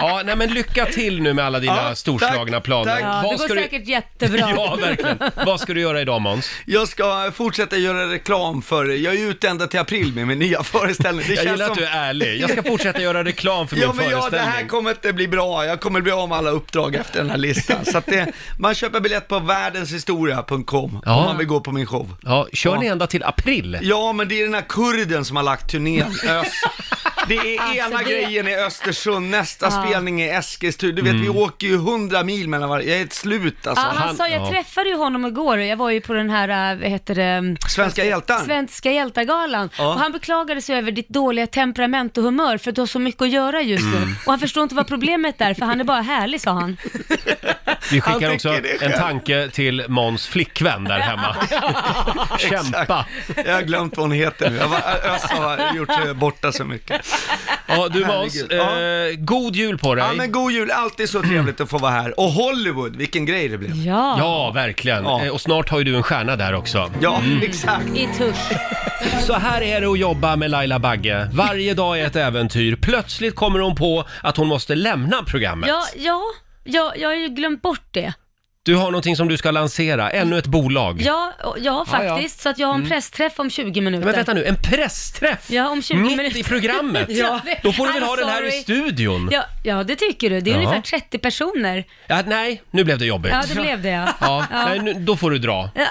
S1: Ja, nej men lycka till nu med alla dina
S9: Ja,
S1: storslagna
S9: tack,
S1: planer.
S9: tack.
S2: Ja, det går säkert jättebra.
S1: Ja, alltså, verkligen. Vad ska du göra idag Måns?
S9: Jag ska fortsätta göra reklam för, jag är ute ända till april med min nya föreställning.
S1: Jag gillar att du är ärlig. Jag ska fortsätta göra reklam för min
S9: ja, men ja, det
S1: föreställning.
S9: här kommer inte bli bra. Jag kommer bli av med alla uppdrag efter den här listan. Så att det, man köper biljett på världenshistoria.com
S1: Ja.
S9: om man vill gå på min show.
S1: Ja, kör ni ända till april?
S9: Ja, men det är den här kurden som har lagt turnén ös. Det är
S16: Alltså,
S9: ena
S16: det-
S9: grejen i Östersund, nästa
S2: Ja.
S9: spelning är Eskilstuna. Du vet, vi åker ju hundra mil mellan varje. Jag är ett slut alltså.
S2: ja, han sa, jag träffade ju honom igår och jag var ju på den här, äh, vad heter det,
S9: Svenska hjältar.
S2: Svenska hjältargalan.
S9: Ja.
S2: Och han beklagade sig över ditt dåliga temperament och humör för att du har så mycket att göra just nu. Och han förstår inte vad problemet är för han är bara härlig sa han.
S1: Vi skickar
S9: Han
S1: också
S9: tycker det
S1: en
S9: själv.
S1: tanke till Måns flickvän där hemma. Kämpa!
S9: Jag har glömt vad hon heter nu. Jag var, Ös har gjort sig borta så mycket.
S1: Ja, du Måns,
S9: Herregud.
S1: eh, god jul på dig!
S9: Ja, men god jul. Alltid så trevligt att få vara här. Och Hollywood, vilken grej det blev.
S2: Ja,
S1: Ja, verkligen. Eh, Och snart har ju du en stjärna där också.
S9: Ja, exakt.
S2: i tusch.
S1: Så här är det att jobba med Laila Bagge. Varje dag är ett äventyr. Plötsligt kommer hon på att hon måste lämna programmet.
S2: Ja, ja, ja, jag har ju glömt bort det.
S1: Du har någonting som du ska lansera, ännu ett bolag.
S2: Ja, och- ja
S1: Ja, ja.
S2: faktiskt. Så att jag har en
S1: Mm.
S2: pressträff om 20 minuter.
S1: Men vänta nu, en pressträff?
S2: Ja, om 20
S1: Mitt
S2: minuter.
S1: i programmet?
S2: Ja, det-
S1: Då får du väl
S2: I'm
S1: ha den här i
S2: sorry.
S1: studion?
S2: Ja, ja, det tycker du. Det är
S1: Ja.
S2: ungefär 30 personer.
S1: Ja, nej, nu blev det jobbigt.
S2: Ja, det blev det ja.
S1: Ja,
S2: Ja.
S1: Nej, nu, då får du dra.
S2: Ja,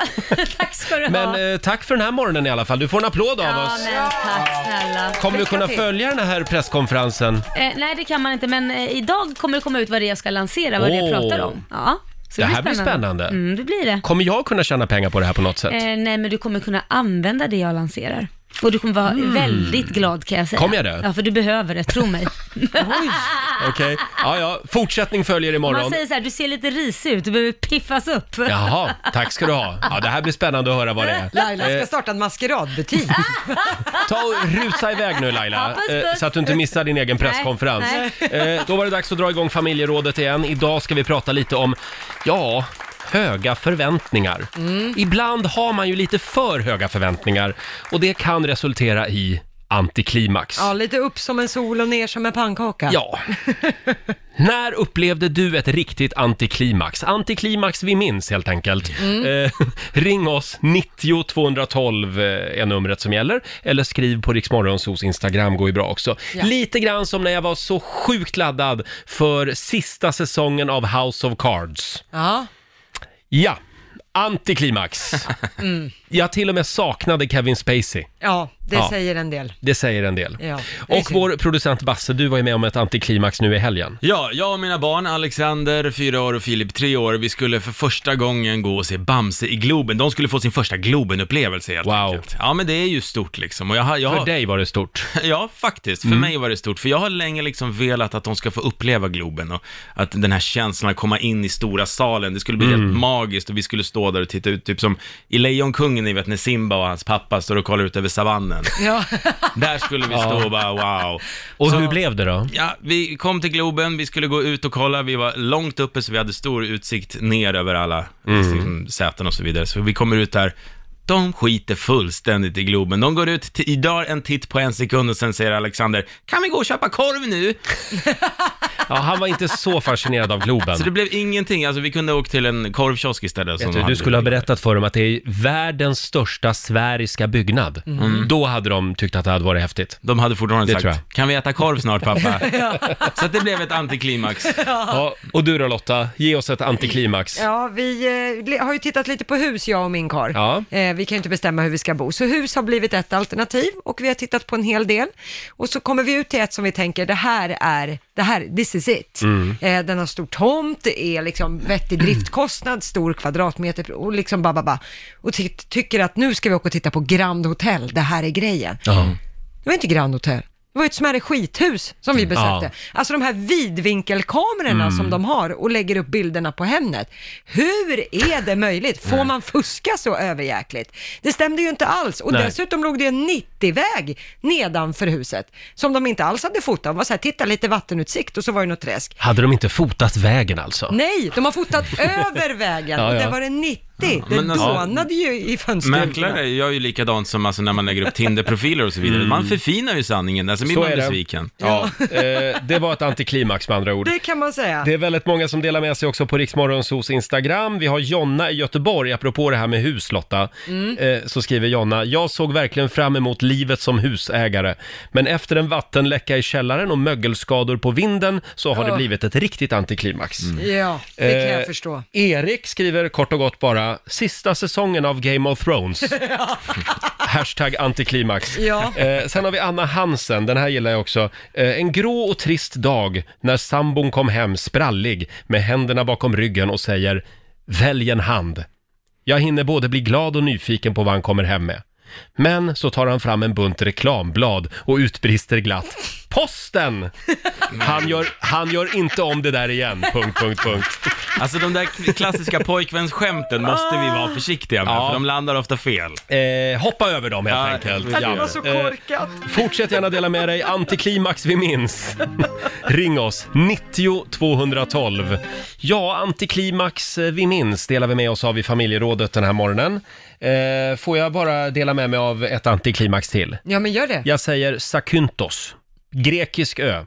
S2: Tack ska du ha.
S1: Men eh, tack för den här morgonen i alla fall. Du får en applåd av
S2: ja,
S1: oss.
S2: men tack snälla.
S1: Kommer du
S2: Lycka
S1: kunna
S2: till.
S1: följa den här presskonferensen?
S2: Eh, nej, det kan man inte, men eh, idag kommer det komma ut vad det är jag ska lansera, vad det jag
S1: Åh.
S2: pratar om. Ja, så
S1: Det här blir spännande.
S2: Mm, det blir det.
S1: Kommer jag kunna tjäna pengar på det här på något sätt?
S2: Eh, nej, men du kommer kunna använda det jag lanserar. Och du kommer vara väldigt glad kan jag säga.
S1: Mm. Kommer jag det?
S2: Ja, för du behöver det, tro mig.
S1: Okej, ja, ja. Fortsättning följer
S2: man
S1: imorgon.
S2: säger så här, du ser lite risig ut, du behöver piffas upp.
S1: Jaha, tack ska du ha. Ja, det här blir spännande att höra vad det är.
S8: Laila
S1: Eh,
S8: ska starta en maskeradbutik.
S1: Ta och rusa iväg nu Laila,
S8: Ja, puss,
S1: eh,
S8: puss.
S1: så att du inte missar din egen
S8: Nej,
S1: presskonferens.
S8: nej.
S1: Eh, Då var det dags att dra igång familjerådet igen. Idag ska vi prata lite om, ja, höga förväntningar.
S8: Mm.
S1: Ibland har man ju lite för höga förväntningar och det kan resultera i antiklimax.
S8: Ja, lite upp som en sol och ner som en pannkaka.
S1: Ja. När upplevde du ett riktigt antiklimax? Antiklimax vi minns helt enkelt. Eh, ring oss, 90 212 eh, är numret som gäller. Eller skriv på Riksmorgonsos Instagram, går ju bra också.
S16: Ja.
S1: Lite grann som när jag var så sjukt laddad för sista säsongen av House of Cards.
S8: Ja.
S1: Ja, antiklimax.
S8: Mm.
S1: Jag till och med saknade Kevin Spacey.
S8: Ja, det
S1: Ja.
S8: säger en del.
S1: Det säger en del.
S8: Ja.
S1: Och vår producent Basse, du var ju med om ett antiklimax nu i helgen.
S17: Ja, jag och mina barn, Alexander, fyra år och Filip, tre år, vi skulle för första gången gå och se Bamse i Globen. De skulle få sin första Globen-upplevelse helt wow. enkelt. Ja, men det är ju stort liksom. Och jag, har- jag,
S1: För
S17: har-
S1: dig var det stort.
S17: Ja, faktiskt. För
S1: Mm.
S17: mig var det stort. För jag har länge liksom velat att de ska få uppleva Globen och att den här känslan att komma in i stora salen, det skulle bli
S1: Mm.
S17: helt magiskt och vi skulle stå där och titta ut, typ som i Lejonkungen, ni vet när Simba och hans pappa står och kollar ut över savannen.
S8: Ja.
S17: Där skulle vi stå
S1: Ja.
S17: och bara wow.
S1: Och hur blev det då?
S17: Ja, vi kom till Globen, vi skulle gå ut och kolla, vi var långt uppe så vi hade stor utsikt ner över alla
S1: Mm.
S17: liksom, säten och så vidare. Så vi kommer ut där, de skiter fullständigt i Globen. De går ut, t- idag en titt på en sekund och sen säger Alexander, kan vi gå och köpa korv nu?
S1: Ja, han var inte så fascinerad av Globen.
S9: Så det blev ingenting, alltså vi kunde åkt till en korvkiosk istället.
S1: Vet du, du skulle ha berättat för dem att det är världens största sfäriska byggnad.
S9: Mm.
S1: Då hade de tyckt att det hade varit häftigt.
S9: De hade fortfarande
S1: det
S9: sagt,
S1: tror jag.
S9: kan vi äta korv snart pappa? Så att det blev ett antiklimax.
S1: Ja, och du då Lotta, ge oss ett antiklimax.
S8: Ja, vi eh, le- har ju tittat lite på hus, jag och min karl.
S1: Ja.
S8: Eh, vi kan ju inte bestämma hur vi ska bo, så hus har blivit ett alternativ och vi har tittat på en hel del. Och så kommer vi ut till ett som vi tänker, det här är, det här, this is it.
S18: Mm.
S8: Eh, den har stor tomt, det är liksom vettig driftkostnad, stor kvadratmeter och liksom ba, ba, ba. Och ty- tycker att nu ska vi åka och titta på Grand Hotel, det här är grejen. Det var inte Grand Hotel. Det var ett smärre skithus som vi besökte.
S18: Ja.
S8: Alltså de här vidvinkelkamerorna
S18: Mm.
S8: som de har och lägger upp bilderna på Hemnet. Hur är det möjligt? Får man fuska så överjäkligt? Det stämde ju inte alls. Och
S18: Nej.
S8: dessutom låg det en 90-väg nedanför huset som de inte alls hade fotat. De var så här, titta lite vattenutsikt och så var det något träsk.
S1: Hade de inte fotat vägen alltså?
S8: Nej, de har fotat över vägen
S9: Ja,
S8: och
S9: ja.
S8: där var det 90. det
S9: men alltså-
S8: dånade ju i fönstren.
S9: Mäklare gör ju likadant som alltså när man lägger upp Tinder-profiler och så vidare. Man förfinar ju sanningen, alltså blir
S1: Mm. Så
S9: man
S1: är det.
S9: besviken.
S1: Ja, eh, det var ett antiklimax med andra ord.
S8: Det kan man säga.
S1: Det är väldigt många som delar med sig också på Riksmorgonsos Instagram. Vi har Jonna i Göteborg, apropå det här med hus Lotta,
S18: Mm.
S1: eh, så skriver Jonna, jag såg verkligen fram emot livet som husägare, men efter en vattenläcka i källaren och mögelskador på vinden så har det
S8: Ugh.
S1: blivit ett riktigt antiklimax.
S8: Ja, det kan jag
S1: Eh,
S8: förstå.
S1: Erik skriver kort och gott bara, sista säsongen av Game of Thrones. Hashtag antiklimax.
S18: Ja.
S1: Eh, sen har vi Anna Hansen, den här gillar jag också. Eh, en grå och trist dag när sambon kom hem sprallig med händerna bakom ryggen och säger “Välj en hand”. Jag hinner både bli glad och nyfiken på vad han kommer hem med. Men så tar han fram en bunt reklamblad och utbrister glatt “Posten!” Han gör, han gör inte om det där igen, punkt, punkt, punkt.
S9: Alltså de där klassiska pojkvänsskämten måste vi vara försiktiga med,
S1: Ja.
S9: för de landar ofta fel.
S1: Eh, hoppa över dem helt
S9: Ja,
S1: enkelt.
S9: ja, det var så
S1: korkat. fortsätt gärna dela med dig. Antiklimax vi minns. Ring oss, 90 212. Ja, antiklimax eh, vi minns delar vi med oss av i familjerådet den här morgonen. Eh, får jag bara dela med mig av ett antiklimax till?
S8: Ja, men gör det.
S1: Jag säger Sakyntos, grekisk ö.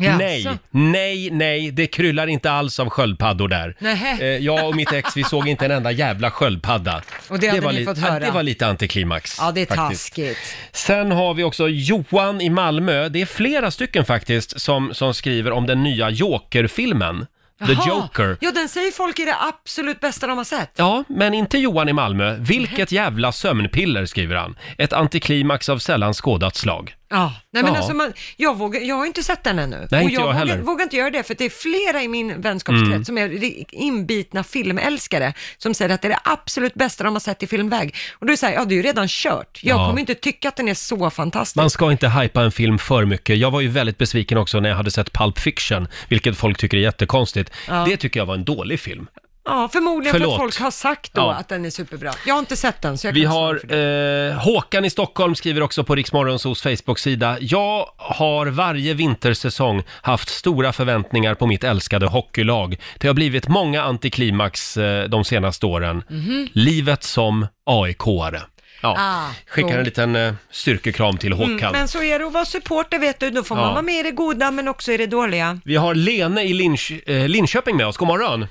S8: Jaså?
S1: Nej, nej, nej, det kryllar inte alls av sköldpaddor där.
S8: Nähä.
S1: Eh, jag och mitt ex, vi såg inte en enda jävla sköldpadda.
S8: Och det hade
S1: var
S8: ni
S1: li-
S8: fått
S1: ja,
S8: höra.
S1: Det var lite antiklimax.
S8: Ja, det är
S1: faktiskt.
S8: taskigt.
S1: Sen har vi också Johan i Malmö. Det är flera stycken faktiskt som, som skriver om den nya Joker-filmen. The
S8: Jaha.
S1: Joker.
S8: Ja, den säger folk är det absolut bästa de har sett.
S1: Ja, men inte Johan i Malmö. Vilket jävla sömnpiller, skriver han. Ett antiklimax av sällan skådat slag.
S8: Ja, nej men
S1: Ja.
S8: alltså man, jag, vågar, jag har inte sett den ännu.
S1: Nej,
S8: och
S1: inte jag
S8: vågar,
S1: heller.
S8: vågar inte göra det, för det är flera i min vänskapskrets
S1: Mm.
S8: som är ri- inbitna filmälskare, som säger att det är det absolut bästa de har sett i filmväg. Och då är det så här, ja det är ju redan kört. Jag
S1: Ja.
S8: kommer inte tycka att den är så fantastisk.
S1: Man ska inte hypa en film för mycket. Jag var ju väldigt besviken också när jag hade sett Pulp Fiction, vilket folk tycker är jättekonstigt.
S8: Ja.
S1: Det tycker jag var en dålig film.
S8: Ja, förmodligen för
S1: Förlåt.
S8: att folk har sagt då
S1: Ja.
S8: att den är superbra. Jag har inte sett den, så jag
S1: Vi
S8: kan-
S1: har eh, Håkan i Stockholm skriver också på Riksmorgonsos Facebook-sida. Jag har varje vintersäsong haft stora förväntningar på mitt älskade hockeylag. Det har blivit många antiklimax eh, de senaste åren.
S18: Mhm.
S1: Livet som AIK-are. Ja.
S8: Ah,
S1: Skickar
S8: cool.
S1: en liten eh, styrkekram till Håkan.
S8: Mm, men så är det att vara supporter vet du, då får
S1: Ja.
S8: man vara med i det goda men också i det dåliga.
S1: Vi har Lene i Linch, eh, Linköping med oss. God morgon!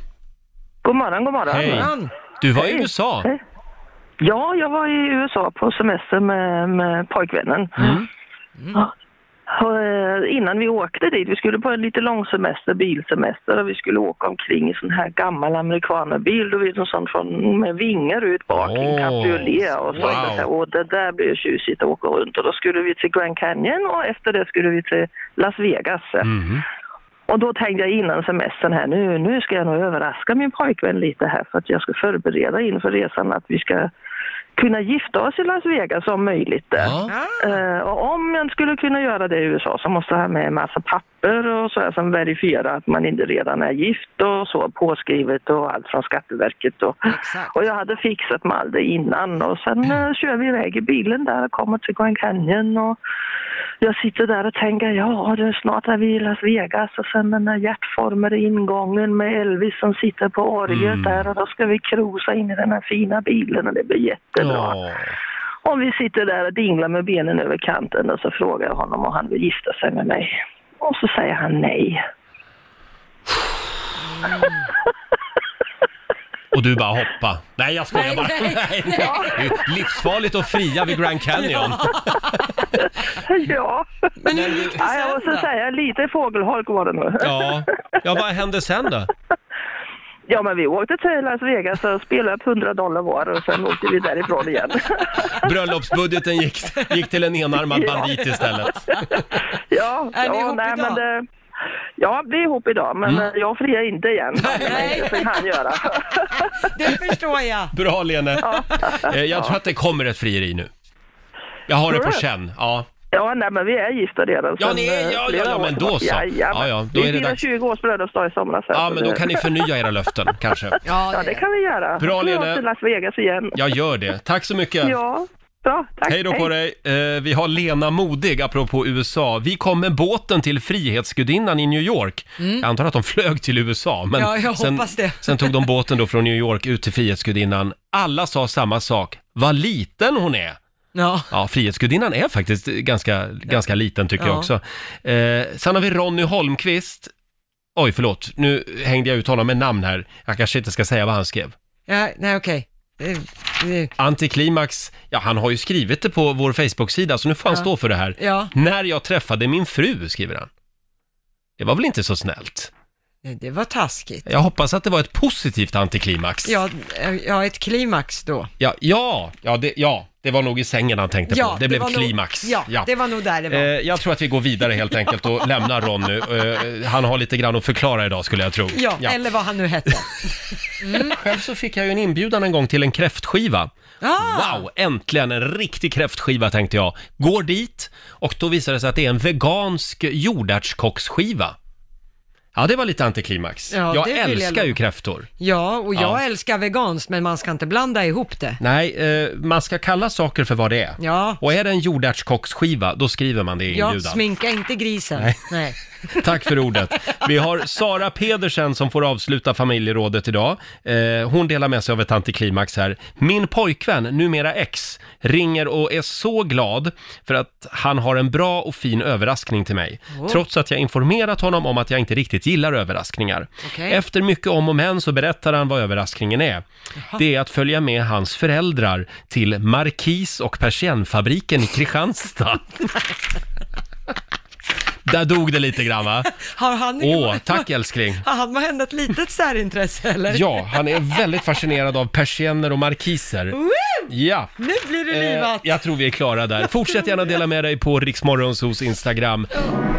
S10: God morgon, god morgon.
S1: Hej. Du var i USA.
S10: Hej. Ja, jag var i USA på semester med, med pojkvännen. Ja. Och, eh, innan vi åkte dit, vi skulle på en lite lång semester, bilsemester, och vi skulle åka omkring i sån här gammal amerikanerbil, du vet en sån från, med vingar ut bak, en cabriolet och så.
S18: wow.
S10: så här, och det där blir ju tjusigt att åka runt och då skulle vi till Grand Canyon och efter det skulle vi till Las Vegas. Och då tänkte jag innan semestern här, nu, nu ska jag nog överraska min pojkvän lite här för att jag ska förbereda inför resan att vi ska kunna gifta oss i Las Vegas om möjligt. där. Eh, och om man skulle kunna göra det i USA så måste jag ha med en massa papper och så här som verifierar att man inte redan är gift och så påskrivet och allt från Skatteverket. Och, och jag hade fixat med allt det innan och sen eh, kör vi iväg i bilen där och kommer till Grand Canyon och jag sitter där och tänker, ja du, snart är vi i Las Vegas och sen den där hjärtformade ingången med Elvis som sitter på orglet där och då ska vi cruisa in i den här fina bilen och det blir jättebra. Och vi sitter där och dinglar med benen över kanten och så frågar jag honom om han vill gifta sig med mig. Och så säger han nej.
S1: Och du bara hoppa. Nej, jag skojar bara.
S2: Nej, nej,
S1: Det är ju livsfarligt att fria vid Grand Canyon.
S10: Ja. Men hur gick det sen Jag måste säga, lite fågelholk var det nog.
S1: Ja. ja, vad hände sen då?
S10: Ja, men vi åkte till Las Vegas och spelade upp 100 dollar var och sen åkte vi därifrån igen.
S1: Bröllopsbudgeten gick, gick till en enarmad
S10: Ja.
S1: bandit istället.
S10: Ja,
S2: Är ni
S10: ja,
S2: ihop
S10: nej,
S2: idag?
S10: men det, ja, vi är ihop idag, men
S1: Mm.
S10: eh, jag friar inte igen. Nej. Det får han göra.
S8: Det förstår jag.
S1: Bra Lene! Eh, Jag tror att det kommer ett frieri nu. Jag har det
S10: Tror
S1: på
S10: du?
S1: känn. Ja.
S10: Ja, nej, men vi är gifta redan.
S1: Ja,
S10: sedan,
S1: ni är-
S10: eh,
S1: ja, ja,
S10: flera
S1: ja,
S10: år
S1: men då
S10: tillbaka.
S1: så.
S10: Jajamän.
S1: Ja, ja, då
S10: vi
S1: är det
S10: firar
S1: dags.
S10: 20 års bröllopsdag i somras. här,
S1: ja,
S10: så
S1: men då
S10: det-
S1: kan ni förnya era löften kanske.
S10: Ja, det, kan vi göra.
S1: Bra,
S10: Vi åker
S1: Lene.
S10: till Las Vegas igen.
S1: Jag gör det. Tack så mycket!
S10: Ja, bra. Tack.
S1: Hej då på dig! Eh, vi har Lena Modig, apropå USA. Vi kom med båten till Frihetsgudinnan i New York.
S8: Mm.
S1: Jag antar att de flög till USA, men
S8: Ja, jag
S1: sen,
S8: hoppas det.
S1: sen tog de båten då från New York ut till Frihetsgudinnan. Alla sa samma sak. Vad liten hon är!
S8: Ja.
S1: Ja, Frihetsgudinnan är faktiskt ganska, ganska liten tycker jag
S8: Ja.
S1: också. Eh, sen har vi Ronny Holmqvist. Oj, förlåt. Nu hängde jag ut honom med namn här. Jag kanske inte ska säga vad han skrev.
S8: Ja, nej, okej. Eh, eh,
S1: Antiklimax, ja han har ju skrivit det på vår Facebook-sida så nu får han
S8: Ja.
S1: stå för det här.
S8: Ja.
S1: När jag träffade min fru, skriver han. Det var väl inte så snällt?
S8: nej, Det var taskigt.
S1: Jag hoppas att det var ett positivt antiklimax.
S8: Ja, eh, ja ett klimax då.
S1: Ja, ja, ja, det, ja, det var nog i sängen han tänkte på. Det blev
S8: var nog-
S1: klimax.
S8: Ja, det var nog där det var.
S1: Eh, jag tror att vi går vidare helt enkelt och lämnar Ronny. Eh, han har lite grann att förklara idag skulle jag tro.
S8: ja,
S1: Ja.
S8: eller vad han nu hette.
S1: Själv så fick jag ju en inbjudan en gång till en kräftskiva.
S8: Ah!
S1: Wow, äntligen en riktig kräftskiva tänkte jag. Går dit och då visar det sig att det är en vegansk jordärtskocksskiva. Ja, det var lite antiklimax.
S8: Ja,
S1: jag
S8: det vill jag
S1: älskar ju
S8: lova.
S1: kräftor.
S8: Ja, och jag
S1: Ja.
S8: älskar veganskt, men man ska inte blanda ihop det.
S1: Nej, eh, man ska kalla saker för vad det är.
S8: Ja.
S1: Och är det en jordärtskocksskiva, då skriver man det i
S8: Ja,
S1: inbjudan.
S8: sminka inte grisen.
S1: Nej.
S8: Nej.
S1: Tack för ordet. Vi har Sara Pedersen som får avsluta familjerådet idag. Eh, hon delar med sig av ett antiklimax här. Min pojkvän, numera ex, ringer och är så glad för att han har en bra och fin överraskning till mig.
S9: Oh.
S1: Trots att jag informerat honom om att jag inte riktigt gillar överraskningar.
S9: Okej.
S1: Efter mycket om och men så berättar han vad överraskningen är. Det är att följa med hans föräldrar till Markis och persiennfabriken i Kristianstad. Där dog det lite grann va?
S8: Har han...
S1: Åh, tack älskling.
S8: Har han må hända ett litet särintresse eller?
S1: Ja, han är väldigt fascinerad av persienner och markiser.
S8: Woo!
S1: Ja.
S8: Nu blir det
S1: Eh,
S8: livat!
S1: jag tror vi är klara där. Fortsätt gärna dela med dig på Riksmorgonsos Instagram. Mm.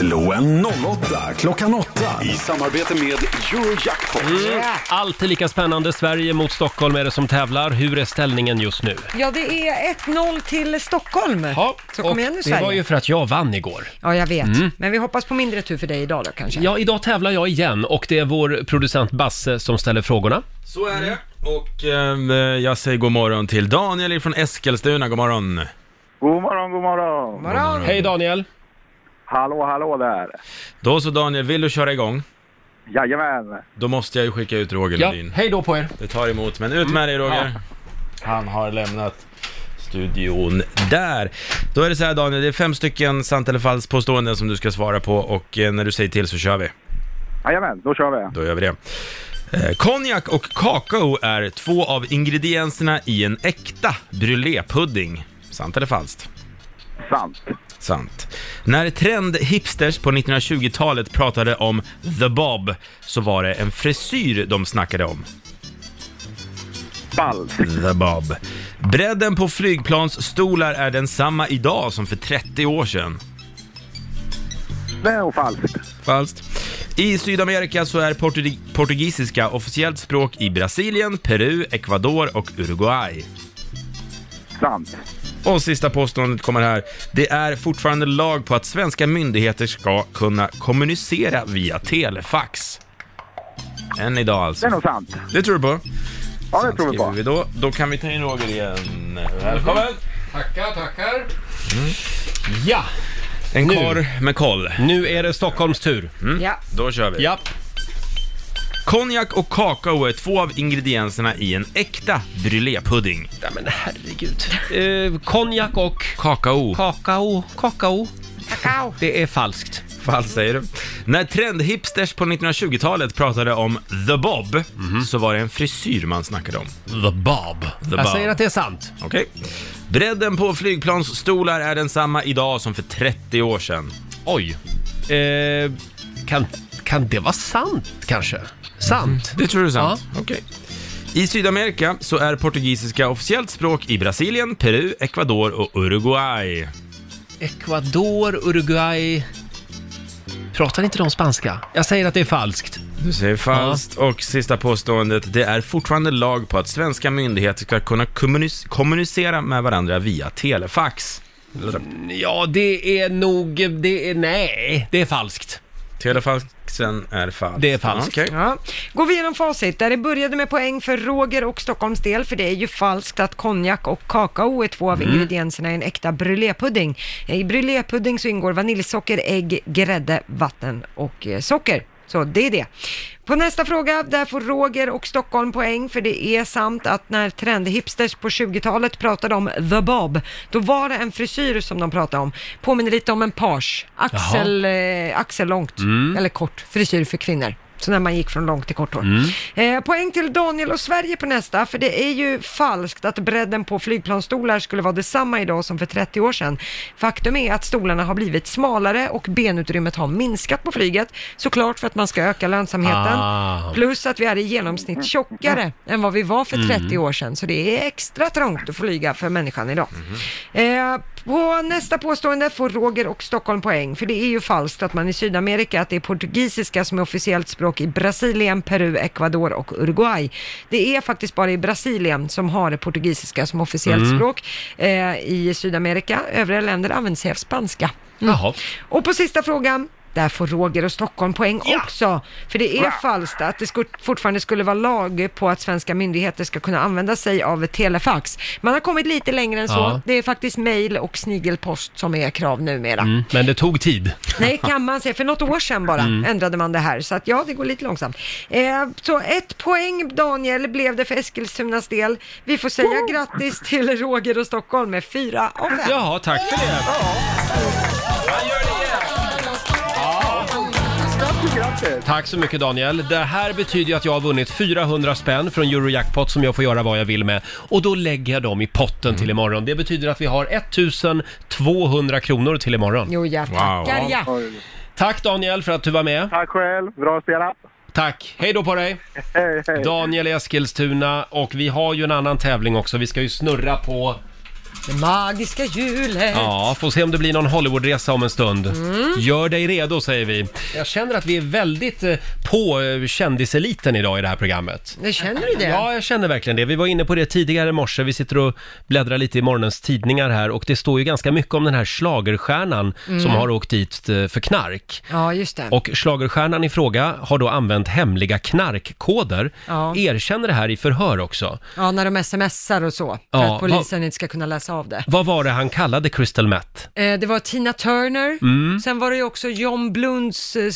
S19: Slå en 08 klockan 8 i samarbete med Eurojackpot.
S1: Mm. Alltid lika spännande. Sverige mot Stockholm är det som tävlar. Hur är ställningen just nu?
S8: Ja, det är 1-0 till Stockholm. Ja, så kom
S1: Och
S8: igen nu
S1: det
S8: Sverige.
S1: var ju för att jag vann igår.
S8: Ja, jag vet.
S1: Mm.
S8: Men vi hoppas på mindre tur för dig idag då kanske.
S1: Ja, idag tävlar jag igen och det är vår producent Basse som ställer frågorna.
S9: Så är det. Och eh, jag säger god morgon till Daniel från Eskilstuna, god morgon.
S20: God morgon, god morgon.
S1: morgon. Hej Daniel.
S20: Hallå, hallå där.
S9: Då så Daniel, vill du köra igång?
S20: Jajamän.
S9: Då måste jag ju skicka ut Roger
S1: Ja,
S9: Lundin.
S1: hej då på er.
S9: Det tar emot, men ut med dig Roger. Han har lämnat studion där. Då är det så här Daniel, det är fem stycken sant eller falskt påståenden som du ska svara på och eh, när du säger till så kör vi.
S20: Jajamän, då kör vi.
S9: Då gör vi det. Eh, Konjak och kakao är två av ingredienserna i en äkta brulépudding. Sant eller falskt?
S20: Sant.
S9: Sant. När trendhipsters på 1920-talet pratade om the bob så var det en frisyr de snackade om.
S20: Falskt.
S9: The bob. Bredden på flygplansstolar är densamma idag som för 30 år sedan.
S20: Det är nog falskt.
S9: Falskt. I Sydamerika så är portug- portugisiska officiellt språk i Brasilien, Peru, Ecuador och Uruguay.
S20: Sant.
S9: Och sista påståendet kommer här. Det är fortfarande lag på att svenska myndigheter ska kunna kommunicera via telefax. Än idag alltså.
S20: Det är nog sant.
S9: Det tror du på?
S20: Ja, det tror vi
S9: Skriver
S20: på.
S9: vi då. Då kan vi ta in Roger igen. Välkommen!
S1: Tackar, tackar. Ja,
S9: En korv med koll.
S1: Nu är det Stockholms tur.
S8: Ja.
S9: Då kör vi.
S1: Ja.
S9: Konjak och kakao är två av ingredienserna i en äkta brulépudding.
S1: Nej men herregud. Eh, konjak och...
S9: Kakao.
S1: Kakao. Kakao.
S8: Kakao.
S1: Det är falskt.
S19: Falskt säger du. När trendhipsters på 1920-talet pratade om the bob, så var det en frisyr man snackade om. The bob. The
S1: Jag säger att det är sant.
S19: Okej. Bredden på flygplansstolar är densamma idag som för 30 år sedan.
S1: Oj. Eh, kan, kan det vara sant kanske? Sant?
S19: Det tror du är sant? Okej. I Sydamerika så är portugisiska officiellt språk i Brasilien, Peru, Ecuador och Uruguay.
S1: Ecuador, Uruguay. Pratar inte de spanska? Jag säger att det är falskt.
S19: Du säger falskt. Och sista påståendet, det är fortfarande lag på att svenska myndigheter ska kunna kommunis- kommunicera med varandra via telefax.
S1: Mm. Ja, det är nog... Det är... Nej, det är falskt.
S19: Telefaxen är falskt.
S1: Det är falskt.
S19: Okej.
S8: Ja. Går vi igenom facit, där det började med poäng för Roger och Stockholms del, för det är ju falskt att konjak och kakao är två av
S19: Mm.
S8: ingredienserna i en äkta brulépudding. I brulépudding så ingår vaniljsocker, ägg, grädde, vatten och eh, socker. Så det är det. På nästa fråga, där får Roger och Stockholm poäng, för det är sant att när trendhipsters på 20-talet pratade om the bob, då var det en frisyr som de pratade om. Påminner lite om en page, axel, eh, axellångt,
S15: Mm.
S8: eller kort, frisyr för kvinnor. Så när man gick från långt till kort hår.
S15: Mm.
S8: Eh, poäng till Daniel och Sverige på nästa, för det är ju falskt att bredden på flygplansstolar skulle vara detsamma idag som för 30 år sedan. Faktum är att stolarna har blivit smalare och benutrymmet har minskat på flyget, såklart för att man ska öka lönsamheten.
S15: Ah.
S8: Plus att vi är i genomsnitt tjockare än vad vi var för
S15: Mm.
S8: 30 år sedan, så det är extra trångt att flyga för människan idag.
S15: Mhm.
S8: Eh, på nästa påstående får Roger och Stockholm poäng, för det är ju falskt att man i Sydamerika, att det är portugisiska som är officiellt språk i Brasilien, Peru, Ecuador och Uruguay. Det är faktiskt bara i Brasilien som har det portugisiska som officiellt
S15: Mm.
S8: språk eh, i Sydamerika. Övriga länder använder sig av spanska.
S1: Jaha.
S8: Och på sista frågan, där får Roger och Stockholm poäng också. För det är
S15: Bra.
S8: falskt att det sku- fortfarande skulle vara lag på att svenska myndigheter ska kunna använda sig av telefax. Man har kommit lite längre än så.
S1: Ja.
S8: Det är faktiskt mejl och snigelpost som är krav numera.
S1: Mm, men det tog tid.
S8: Nej, kan man säga. För något år sedan bara
S1: Mm.
S8: ändrade man det här. Så att ja, det går lite långsamt. Eh, så ett poäng, Daniel, blev det för Eskilstunas del. Vi får säga grattis till Roger och Stockholm med fyra av fem.
S1: Jaha, tack för det. Tack så mycket Daniel. Det här betyder ju att jag har vunnit 400 spänn från Eurojackpot som jag får göra vad jag vill med. Och då lägger jag dem i potten till imorgon. Det betyder att vi har 1200 kronor till imorgon.
S8: Jo, ja, tackar, Wow. ja.
S1: Tack Daniel för att du var med.
S21: Tack själv, bra spelat.
S1: Tack, hej då på dig!
S21: Hej, hej.
S1: Daniel Eskilstuna och vi har ju en annan tävling också. Vi ska ju snurra på...
S8: Det magiska hjulet.
S1: Ja, får se om det blir någon Hollywoodresa om en stund.
S8: Mm.
S1: Gör dig redo säger vi. Jag känner att vi är väldigt eh, på eh, kändiseliten idag i det här programmet.
S8: Nu känner du det?
S1: Ja, jag känner verkligen det. Vi var inne på det tidigare i morse. Vi sitter och bläddrar lite i morgonens tidningar här och det står ju ganska mycket om den här schlagerstjärnan
S8: Mm.
S1: som har åkt dit eh, för knark.
S8: Ja, just det.
S1: Och schlagerstjärnan i fråga har då använt hemliga knarkkoder.
S8: Ja.
S1: Erkänner det här i förhör också.
S8: Ja, när de smsar och så, för
S1: Ja,
S8: att polisen inte ska kunna läsa av det.
S1: Vad var det han kallade crystal meth?
S8: Eh, Det var Tina Turner,
S1: Mm.
S8: sen var det ju också John Blunds eh,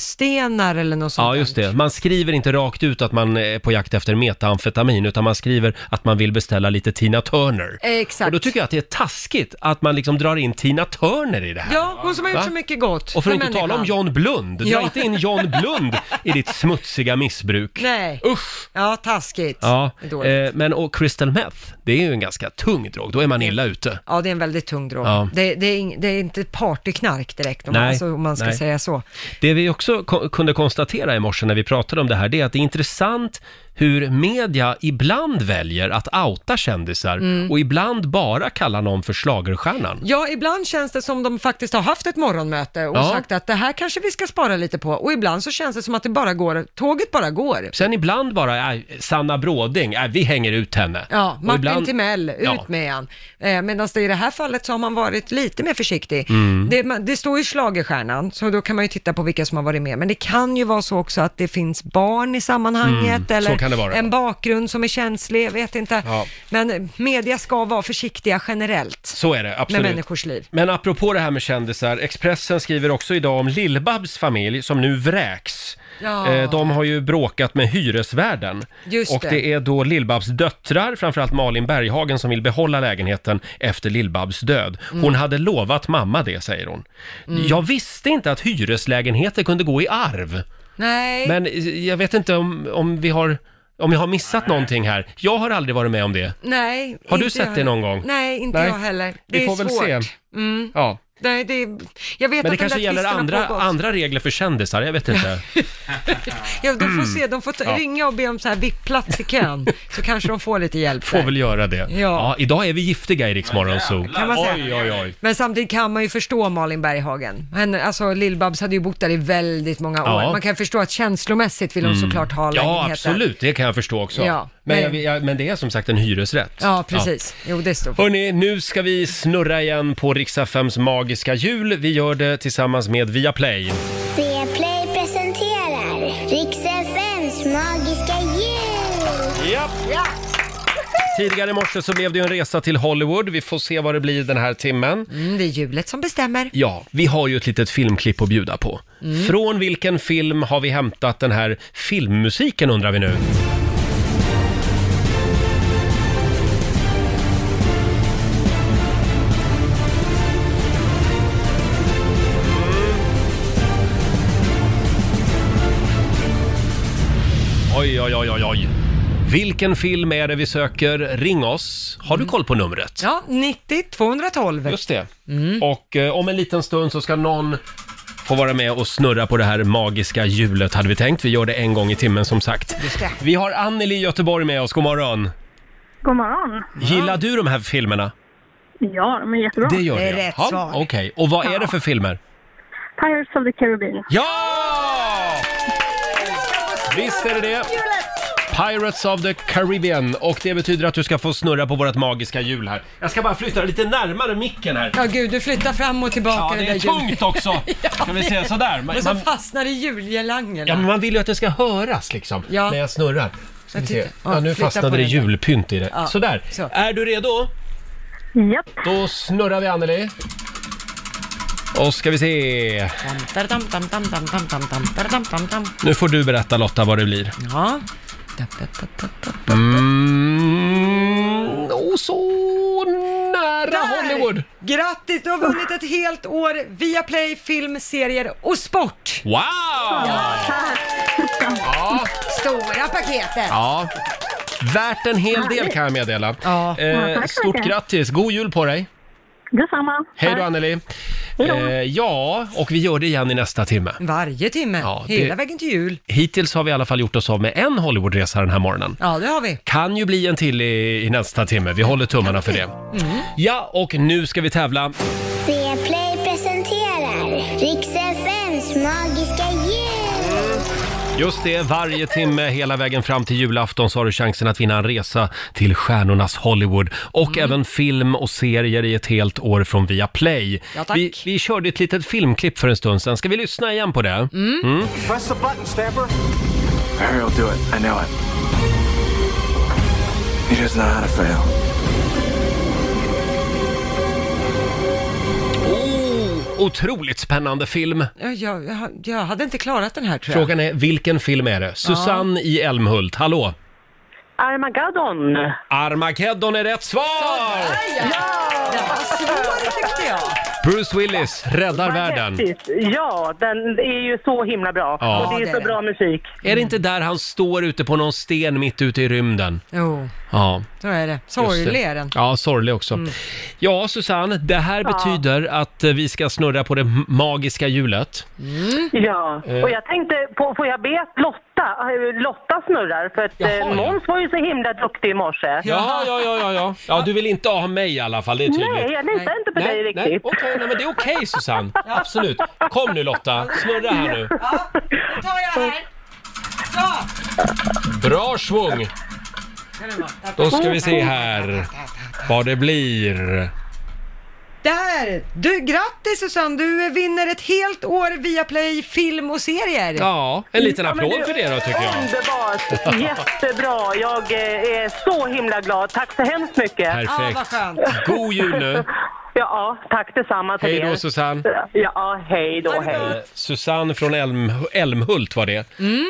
S8: sömnstenar eller något sånt.
S1: Ja, just det. Man skriver inte rakt ut att man är på jakt efter metaamfetamin, utan man skriver att man vill beställa lite Tina Turner.
S8: Eh, Exakt.
S1: Och då tycker jag att det är taskigt att man liksom drar in Tina Turner i det här.
S8: Ja, hon som har gjort
S1: Va?
S8: så mycket gott
S1: Och för att inte tala om
S8: människan.
S1: John Blund, dra
S8: Ja.
S1: inte in John Blund i ditt smutsiga missbruk.
S8: Nej.
S1: Usch!
S8: Ja, taskigt.
S1: Ja,
S8: Det är dåligt.
S1: eh, men och crystal meth, det är ju en ganska tung drog, då är man illa ute.
S8: Ja, det är en väldigt tung drog.
S1: Ja.
S8: Det, det, är ing, det är inte partyknark direkt, om, man-
S1: Nej,
S8: alltså, om man ska
S1: nej.
S8: säga så.
S1: Det vi också ko- kunde konstatera i morse när vi pratade om det här, det är att det är intressant hur media ibland väljer att outa kändisar
S8: Mm.
S1: och ibland bara kallar någon för schlagerstjärnan.
S8: Ja, ibland känns det som de faktiskt har haft ett morgonmöte och
S1: Ja.
S8: sagt att det här kanske vi ska spara lite på. Och ibland så känns det som att det bara går, tåget bara går.
S1: Sen ibland bara, äh, Sanna Bråding, äh, vi hänger ut henne.
S8: Ja,
S1: Och
S8: Martin
S1: ibland-
S8: Timell, ut
S1: Ja.
S8: med han. Eh, Medan det i det här fallet så har man varit lite mer försiktig.
S1: Mm.
S8: Det, man- det står ju schlagerstjärnan, så då kan man ju titta på vilka som har varit med. Men det kan ju vara så också att det finns barn i sammanhanget
S1: Mm, så
S8: eller
S1: kan det vara.
S8: en bakgrund som är känslig, jag vet inte.
S1: Ja.
S8: Men media ska vara försiktiga generellt
S1: Så är det, absolut.
S8: med människors liv.
S1: Men apropå det här med kändisar, Expressen skriver också idag om Lill-Babs familj som nu vräks.
S8: Ja.
S1: Eh, De har ju bråkat med hyresvärden.
S8: Just
S1: och
S8: det.
S1: det. är då Lillbabs döttrar, framförallt Malin Berghagen, som vill behålla lägenheten efter Lillbabs död. Hon
S19: Mm.
S1: hade lovat mamma det, säger hon.
S8: Mm.
S1: Jag visste inte att hyreslägenheter kunde gå i arv.
S8: Nej.
S1: Men eh, jag vet inte om, om vi har... Om jag har missat någonting här. Jag har aldrig varit med om det.
S8: Nej.
S1: Har du
S8: inte
S1: sett
S8: jag-
S1: det någon gång?
S8: Nej, inte
S1: Nej.
S8: jag heller. Det
S1: Vi
S8: är
S1: får väl
S8: svårt.
S1: se.
S8: Mm.
S1: Ja.
S8: Nej, det är... Jag vet
S1: Men det
S8: att
S1: kanske
S8: den där
S1: gäller
S8: tvisten har
S1: andra,
S8: pågått.
S1: andra regler för kändisar, jag vet inte.
S8: Ja, de får
S1: Mm.
S8: se. De får ta,
S1: Ja.
S8: ringa och be om så här VIP-plats i kön, så kanske de får lite hjälp
S1: Får
S8: där.
S1: väl göra det. Ja. idag är vi giftiga i Rix Morgon Zoo.
S8: Kan man säga.
S1: Oj, oj, oj.
S8: Men samtidigt kan man ju förstå Malin Berghagen. Henne, alltså Lill-Babs hade ju bott där i väldigt många år.
S1: Ja.
S8: Man kan förstå att känslomässigt vill hon
S1: Mm.
S8: såklart ha
S1: Ja,
S8: lägenheten.
S1: absolut. Det kan jag förstå också.
S8: Ja,
S1: men,
S8: men-
S1: jag, jag, men det är som sagt en hyresrätt.
S8: Ja, precis. Jo, det står
S1: Hörni, nu ska vi snurra igen på Riksaffems magiska jul. Vi gör det tillsammans med Viaplay.
S3: Viaplay presenterar Rix fms magiska jul!
S1: Japp.
S3: Ja.
S1: Tidigare i morse så blev det ju en resa till Hollywood. Vi får se vad det blir den här timmen.
S8: Mm, det är hjulet som bestämmer.
S1: Ja, vi har ju ett litet filmklipp att bjuda på.
S8: Mm.
S1: Från vilken film har vi hämtat den här filmmusiken undrar vi nu? Oj, oj, oj, oj, oj. Vilken film är det vi söker? Ring oss. Har du koll på numret?
S8: Ja, 90 212.
S1: Just det. Och eh, om en liten stund så ska någon få vara med och snurra på det här magiska hjulet hade vi tänkt. Vi gör det en gång i timmen som sagt.
S8: Just det.
S1: Vi har Anneli i Göteborg med oss, god morgon.
S15: God morgon.
S1: Gillar du de här filmerna?
S15: Ja, de är jättebra.
S1: Det gör du, ja. Ja, Okej, och vad är det för filmer?
S15: Pirates of the Caribbean.
S1: Ja! Visst är det det. Pirates of the Caribbean och det betyder att du ska få snurra på vårt magiska hjul här. Jag ska bara flytta dig lite närmare micken här.
S8: Ja, gud, du flyttar fram och tillbaka
S1: Ja, det
S8: den
S1: är
S8: där
S1: tungt också. Ska vi säga sådär. Man,
S8: Man, och så
S1: man,
S8: fastnar i julgelangerna.
S1: ja, men man vill ju att det ska höras liksom
S8: Ja.
S1: när jag snurrar. Ska vi
S8: Jag
S1: se.
S8: tittar. Ja,
S1: Ja, nu
S8: flytta på
S1: fastnade det
S8: den där.
S1: julpynt i det.
S8: Ja,
S1: Sådär. Är du redo?
S15: Japp.
S1: Då snurrar vi Anneli. Och ska vi se. Nu får du berätta Lotta vad det blir.
S8: Ja.
S1: Mm. Och så nära
S8: Hollywood! Grattis, du har vunnit ett helt år via Play, film, serier och sport!
S1: Wow!
S8: Ja. Stora paketet!
S1: Ja. Värt en hel del kan jag meddela.
S8: Ja,
S1: Eh,
S8: tack så
S1: stort
S8: mycket.
S1: grattis! God jul på dig!
S15: Detsamma.
S1: Hej då
S8: Tack.
S1: Anneli! Eh, ja, och vi gör det igen i nästa timme.
S8: Varje timme,
S1: Ja, det-
S8: hela vägen till jul.
S1: Hittills har vi i alla fall gjort oss av med en Hollywoodresa den här morgonen.
S8: Ja, det har vi.
S1: Kan ju bli en till i, i nästa timme. Vi håller tummarna för det. Ja, och nu ska vi tävla.
S3: Viaplay presenterar Rix fms magiska jul!
S1: Just det, varje timme hela vägen fram till julafton så har du chansen att vinna en resa till stjärnornas Hollywood och även film och serier i ett helt år från Viaplay.
S5: Ja, tack.
S1: vi, vi körde ett litet filmklipp för en stund sedan. Ska vi lyssna igen på det? Mm.
S5: Press the button, Stamper. Barry will do it. I know it. He doesn't know how to fail.
S1: Oh, otroligt spännande film.
S8: Ja, Jag, jag, jag hade inte klarat den här tror jag.
S1: Frågan är, vilken film är det? Susanne i Elmhult, hallå?
S15: Armageddon.
S1: Armageddon är rätt svar!
S8: Den var svår tyckte jag.
S1: Bruce Willis räddar världen.
S15: Fantastiskt. Ja, den är ju så himla bra.
S1: Ja.
S15: Och det
S1: Ja,
S15: är
S1: det
S15: så
S1: är
S15: bra musik.
S1: Är det inte där han står ute på någon sten mitt ute i rymden?
S8: Jo,
S1: Ja.
S8: så är det.
S1: Just
S8: Sorglig
S1: det.
S8: är den.
S1: Ja, sorglig också. Ja, Susanne, det här
S15: Mm. Ja.
S1: betyder att eh, vi ska snurra på det m- magiska hjulet.
S15: Ja,
S1: Eh.
S15: och jag tänkte, på, får jag be att Lotta, eh, Lotta snurrar? För att
S1: Jaha, ja.
S15: eh, Måns var ju så himla duktig i morse.
S1: Jaha, ja, ja, ja, ja. Ja, du vill inte ha mig i alla fall, det är tydligt.
S15: Nej, jag litar inte på
S1: nej,
S15: dig riktigt.
S1: Nej, okej, nej, men det är okej Susanne. Absolut. Kom nu Lotta, snurra här nu.
S8: Då tar jag här. Så!
S1: Bra svung! Då ska vi se här vad det blir.
S8: Där! Du, grattis Susanne, du vinner ett helt år via Play film och serier.
S1: Ja, en liten
S15: Ja, men
S1: applåd
S15: du-
S1: för det då tycker jag.
S15: Underbart! Jättebra! Jag eh, är så himla glad. Tack så hemskt mycket.
S1: Perfekt. God jul nu.
S15: Ja, tack detsamma till
S1: Hej
S15: er.
S1: då, Susanne.
S15: Ja, hej då, hej.
S1: Susanne från Elm, Elmhult var det.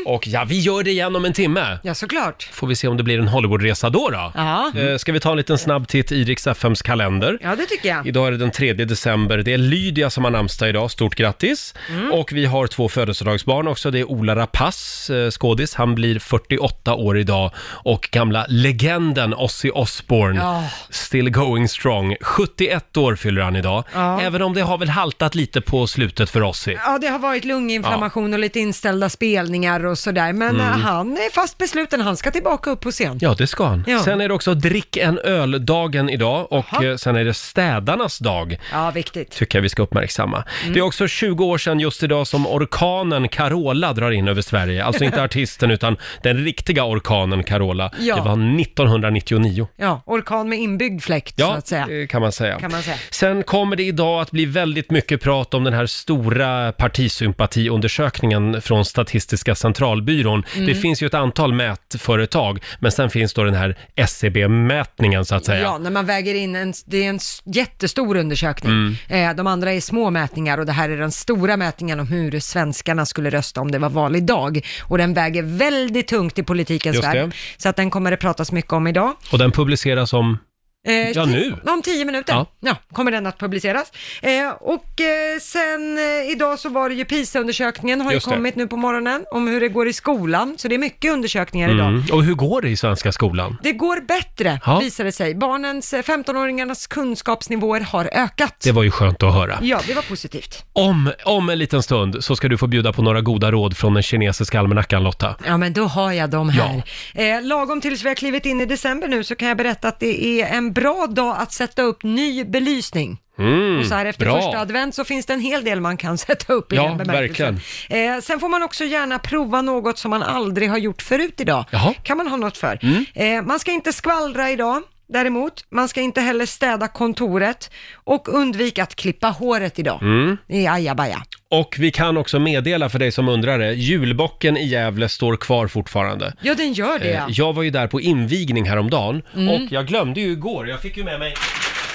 S1: Och ja, vi gör det igen om en timme.
S8: Ja, såklart.
S1: Får vi se om det blir en Hollywoodresa då då.
S8: Ja.
S1: Eh, Ska vi ta en liten snabb titt i Rix FMs kalender?
S8: Ja, det tycker jag.
S1: Idag är det den 3 december. Det är Lydia som har namnsdag idag. Stort grattis!
S8: Mm.
S1: Och vi har två födelsedagsbarn också. Det är Ola Rapace, eh, skådis. Han blir 48 år idag. Och gamla legenden Ozzy Osbourne,
S8: Ja.
S1: still going strong. 71 år fyller han idag.
S8: Ja.
S1: Även om det har väl haltat lite på slutet för Ozzy.
S8: Ja, det har varit lunginflammation och lite inställda spelningar och sådär, men
S1: Mm.
S8: eh, han är fast besluten, han ska tillbaka upp på scen.
S1: Ja, det ska han.
S8: Ja.
S1: Sen är det också drick en öl-dagen idag och
S8: Jaha.
S1: eh, sen är det städarnas dag.
S8: Ja, viktigt.
S1: tycker jag vi ska uppmärksamma. Det
S8: Mm.
S1: är också 20 år sedan just idag som orkanen Carola drar in över Sverige. Alltså inte artisten utan den riktiga orkanen Carola.
S8: Ja.
S1: Det var 1999.
S8: Ja, orkan med inbyggd fläkt så
S1: Ja,
S8: att säga.
S1: eh, kan man säga.
S8: Kan man säga.
S1: Sen kommer det idag att bli väldigt mycket prat om den här stora partisympatiundersökningen från Statistiska centralbyrån.
S8: Mm.
S1: Det finns ju ett antal mätföretag, men sen finns då den här SCB-mätningen så att säga.
S8: Ja, när man väger in en, det är en s- jättestor undersökning.
S1: Mm.
S8: Eh, de andra är små mätningar och det här är den stora mätningen om hur svenskarna skulle rösta om det var val idag. Och den väger väldigt tungt i politikens
S1: Just det.
S8: värld. Så att den kommer det pratas mycket om idag.
S1: Och den publiceras om...
S8: Eh,
S1: Ja,
S8: ti-
S1: nu.
S8: Om tio minuter
S1: Ja.
S8: ja. kommer den att publiceras. Eh, och eh, sen eh, idag så var det ju PISA-undersökningen har ju
S1: Just det.
S8: kommit nu på morgonen om hur det går i skolan. Så det är mycket undersökningar idag.
S1: Mm. Och hur går det i svenska skolan?
S8: Det går bättre,
S1: Ja.
S8: visar det sig. Barnens, eh, 15-åringarnas kunskapsnivåer har ökat.
S1: Det var ju skönt att höra.
S8: Ja, det var positivt.
S1: Om, om en liten stund så ska du få bjuda på några goda råd från den kinesiska almanackan Lotta.
S8: Ja, men då har jag dem här. Eh, lagom tills vi har klivit in i december nu så kan jag berätta att det är en bra dag att sätta upp ny belysning.
S1: Mm,
S8: och så här efter
S1: bra.
S8: första advent så finns det en hel del man kan sätta upp i
S1: Ja,
S8: den bemärkelsen. Eh, sen får man också gärna prova något som man aldrig har gjort förut idag. kan man ha något för.
S1: Mm.
S8: Eh, man ska inte skvallra idag. Däremot, man ska inte heller städa kontoret och undvika att klippa håret idag.
S1: Mm.
S8: Det är ajabaja.
S1: Och vi kan också meddela för dig som undrar det, julbocken i Gävle står kvar fortfarande.
S8: Ja, den gör det.
S1: Eh, Jag var ju där på invigning häromdagen
S8: Mm.
S1: och jag glömde ju igår, jag fick ju med mig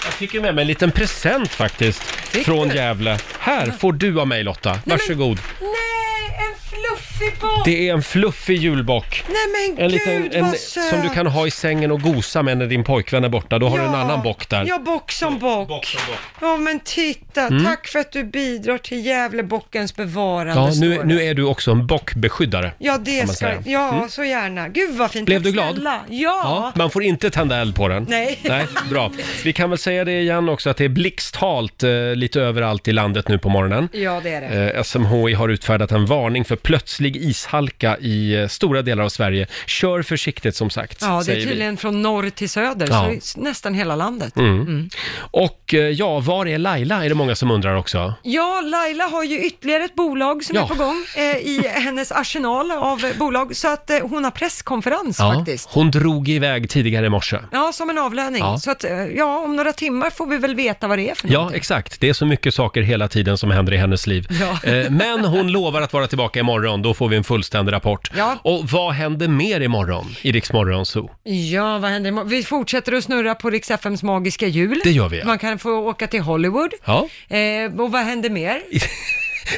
S1: jag fick ju med mig en liten present faktiskt från Gävle. Här får du av mig Lotta, varsågod.
S8: Nej, en fluffig boll!
S1: Det är en fluffig julbock.
S8: Nej men
S1: En
S8: gud
S1: liten, en,
S8: vad söt!
S1: som du kan ha i sängen och gosa med när din pojkvän är borta. Då har du en annan bock där.
S8: Ja, bock som bock. Ja men titta,
S1: Mm.
S8: tack för att du bidrar till Gävlebockens bevarande.
S1: Ja, nu,
S8: står det.
S1: nu är du också en bockbeskyddare.
S8: Ja,
S1: kan
S8: det
S1: man
S8: ska,
S1: säga.
S8: ja
S1: Mm.
S8: så gärna. Gud vad fint.
S1: Blev
S8: Tack
S1: du glad?
S8: snälla. Ja.
S1: Ja, man får inte tända eld på den.
S8: Nej.
S1: Nej, bra. Vi kan väl säga det igen också att det är blixthalt eh, lite överallt i landet nu på morgonen.
S8: Ja, det är det.
S1: Eh, SMHI har utfärdat en varning för plötslig ishalka i eh, stora delar av Sverige. Kör försiktigt som sagt,
S8: Ja, det är
S1: säger vi.
S8: tydligen från norr till söder,
S1: Ja.
S8: så s- nästan hela landet.
S1: Mm. Och eh, ja, var är Laila? Är det många som undrar också.
S8: Ja, Laila har ju ytterligare ett bolag som
S1: Ja.
S8: är på gång eh, i hennes arsenal av eh, bolag, så att eh, hon har presskonferens
S1: Ja,
S8: faktiskt.
S1: hon drog iväg tidigare i morse.
S8: Ja, som en avlöning.
S1: Ja.
S8: Så att, eh, ja, om några timmar får vi väl veta vad det är för
S1: Ja, exakt. Det är så mycket saker hela tiden som händer i hennes liv.
S8: Ja.
S1: Eh, Men hon lovar att vara tillbaka imorgon, då får vi en fullständig rapport. Och vad händer mer imorgon i Rix Morgon Zoo?
S8: Ja, vad händer imorgon? Vi fortsätter att snurra på Rix FMs magiska jul.
S1: Det gör vi, ja.
S8: Man kan få åka till Hollywood.
S1: Ja,
S8: Eh, och vad händer mer?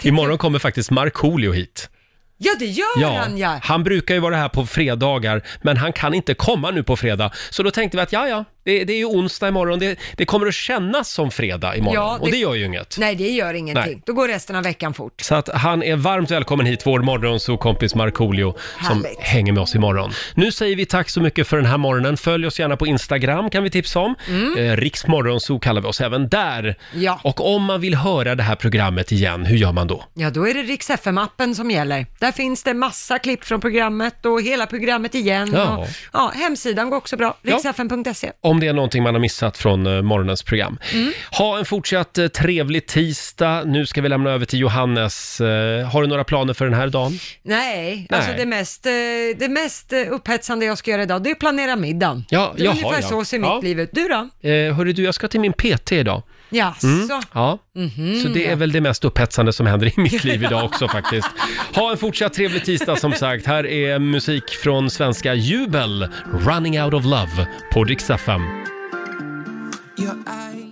S1: imorgon kommer faktiskt Markoolio hit.
S8: Ja, det gör han ja!
S1: han brukar ju vara här på fredagar, men han kan inte komma nu på fredag. Så då tänkte vi att ja, ja, det, det är ju onsdag imorgon, det, det kommer att kännas som fredag imorgon.
S8: Ja,
S1: Och det gör ju inget.
S8: Nej, det gör ingenting.
S1: Nej.
S8: Då går resten av veckan fort.
S1: Så att han är varmt välkommen hit, vår morgonsokompis Markoolio som
S8: Härligt.
S1: hänger med oss imorgon. Nu säger vi tack så mycket för den här morgonen. Följ oss gärna på Instagram kan vi tipsa om.
S8: Mm.
S1: Eh, Riks morgonso kallar vi oss även där.
S8: Ja.
S1: Och om man vill höra det här programmet igen, hur gör man då?
S8: Ja, då är det Rix FM-appen som gäller. Där finns det massa klipp från programmet och hela programmet igen.
S1: Ja.
S8: Och, ja, hemsidan går också bra, rixfm.se.
S1: Om det är någonting man har missat från eh, morgonens program.
S8: Mm.
S1: Ha en fortsatt eh, trevlig tisdag. Nu ska vi lämna över till Johannes. Eh, Har du några planer för den här dagen?
S8: Nej,
S1: Nej.
S8: alltså det mest, eh, det mest eh, upphetsande jag ska göra idag, det är att planera middagen.
S1: Ja,
S8: det är
S1: jaha,
S8: ungefär
S1: ja.
S8: så ser
S1: Ja.
S8: mitt liv ut. Du då?
S1: Eh, hörru du, jag ska till min PT idag.
S8: Jaså?
S1: Mm. Ja.
S8: Mhm.
S1: Så det är väl det mest upphetsande som händer i mitt liv idag också faktiskt. Ha en fortsatt trevlig tisdag som sagt. Här är musik från svenska Jubel, Running Out of Love på Dix FM.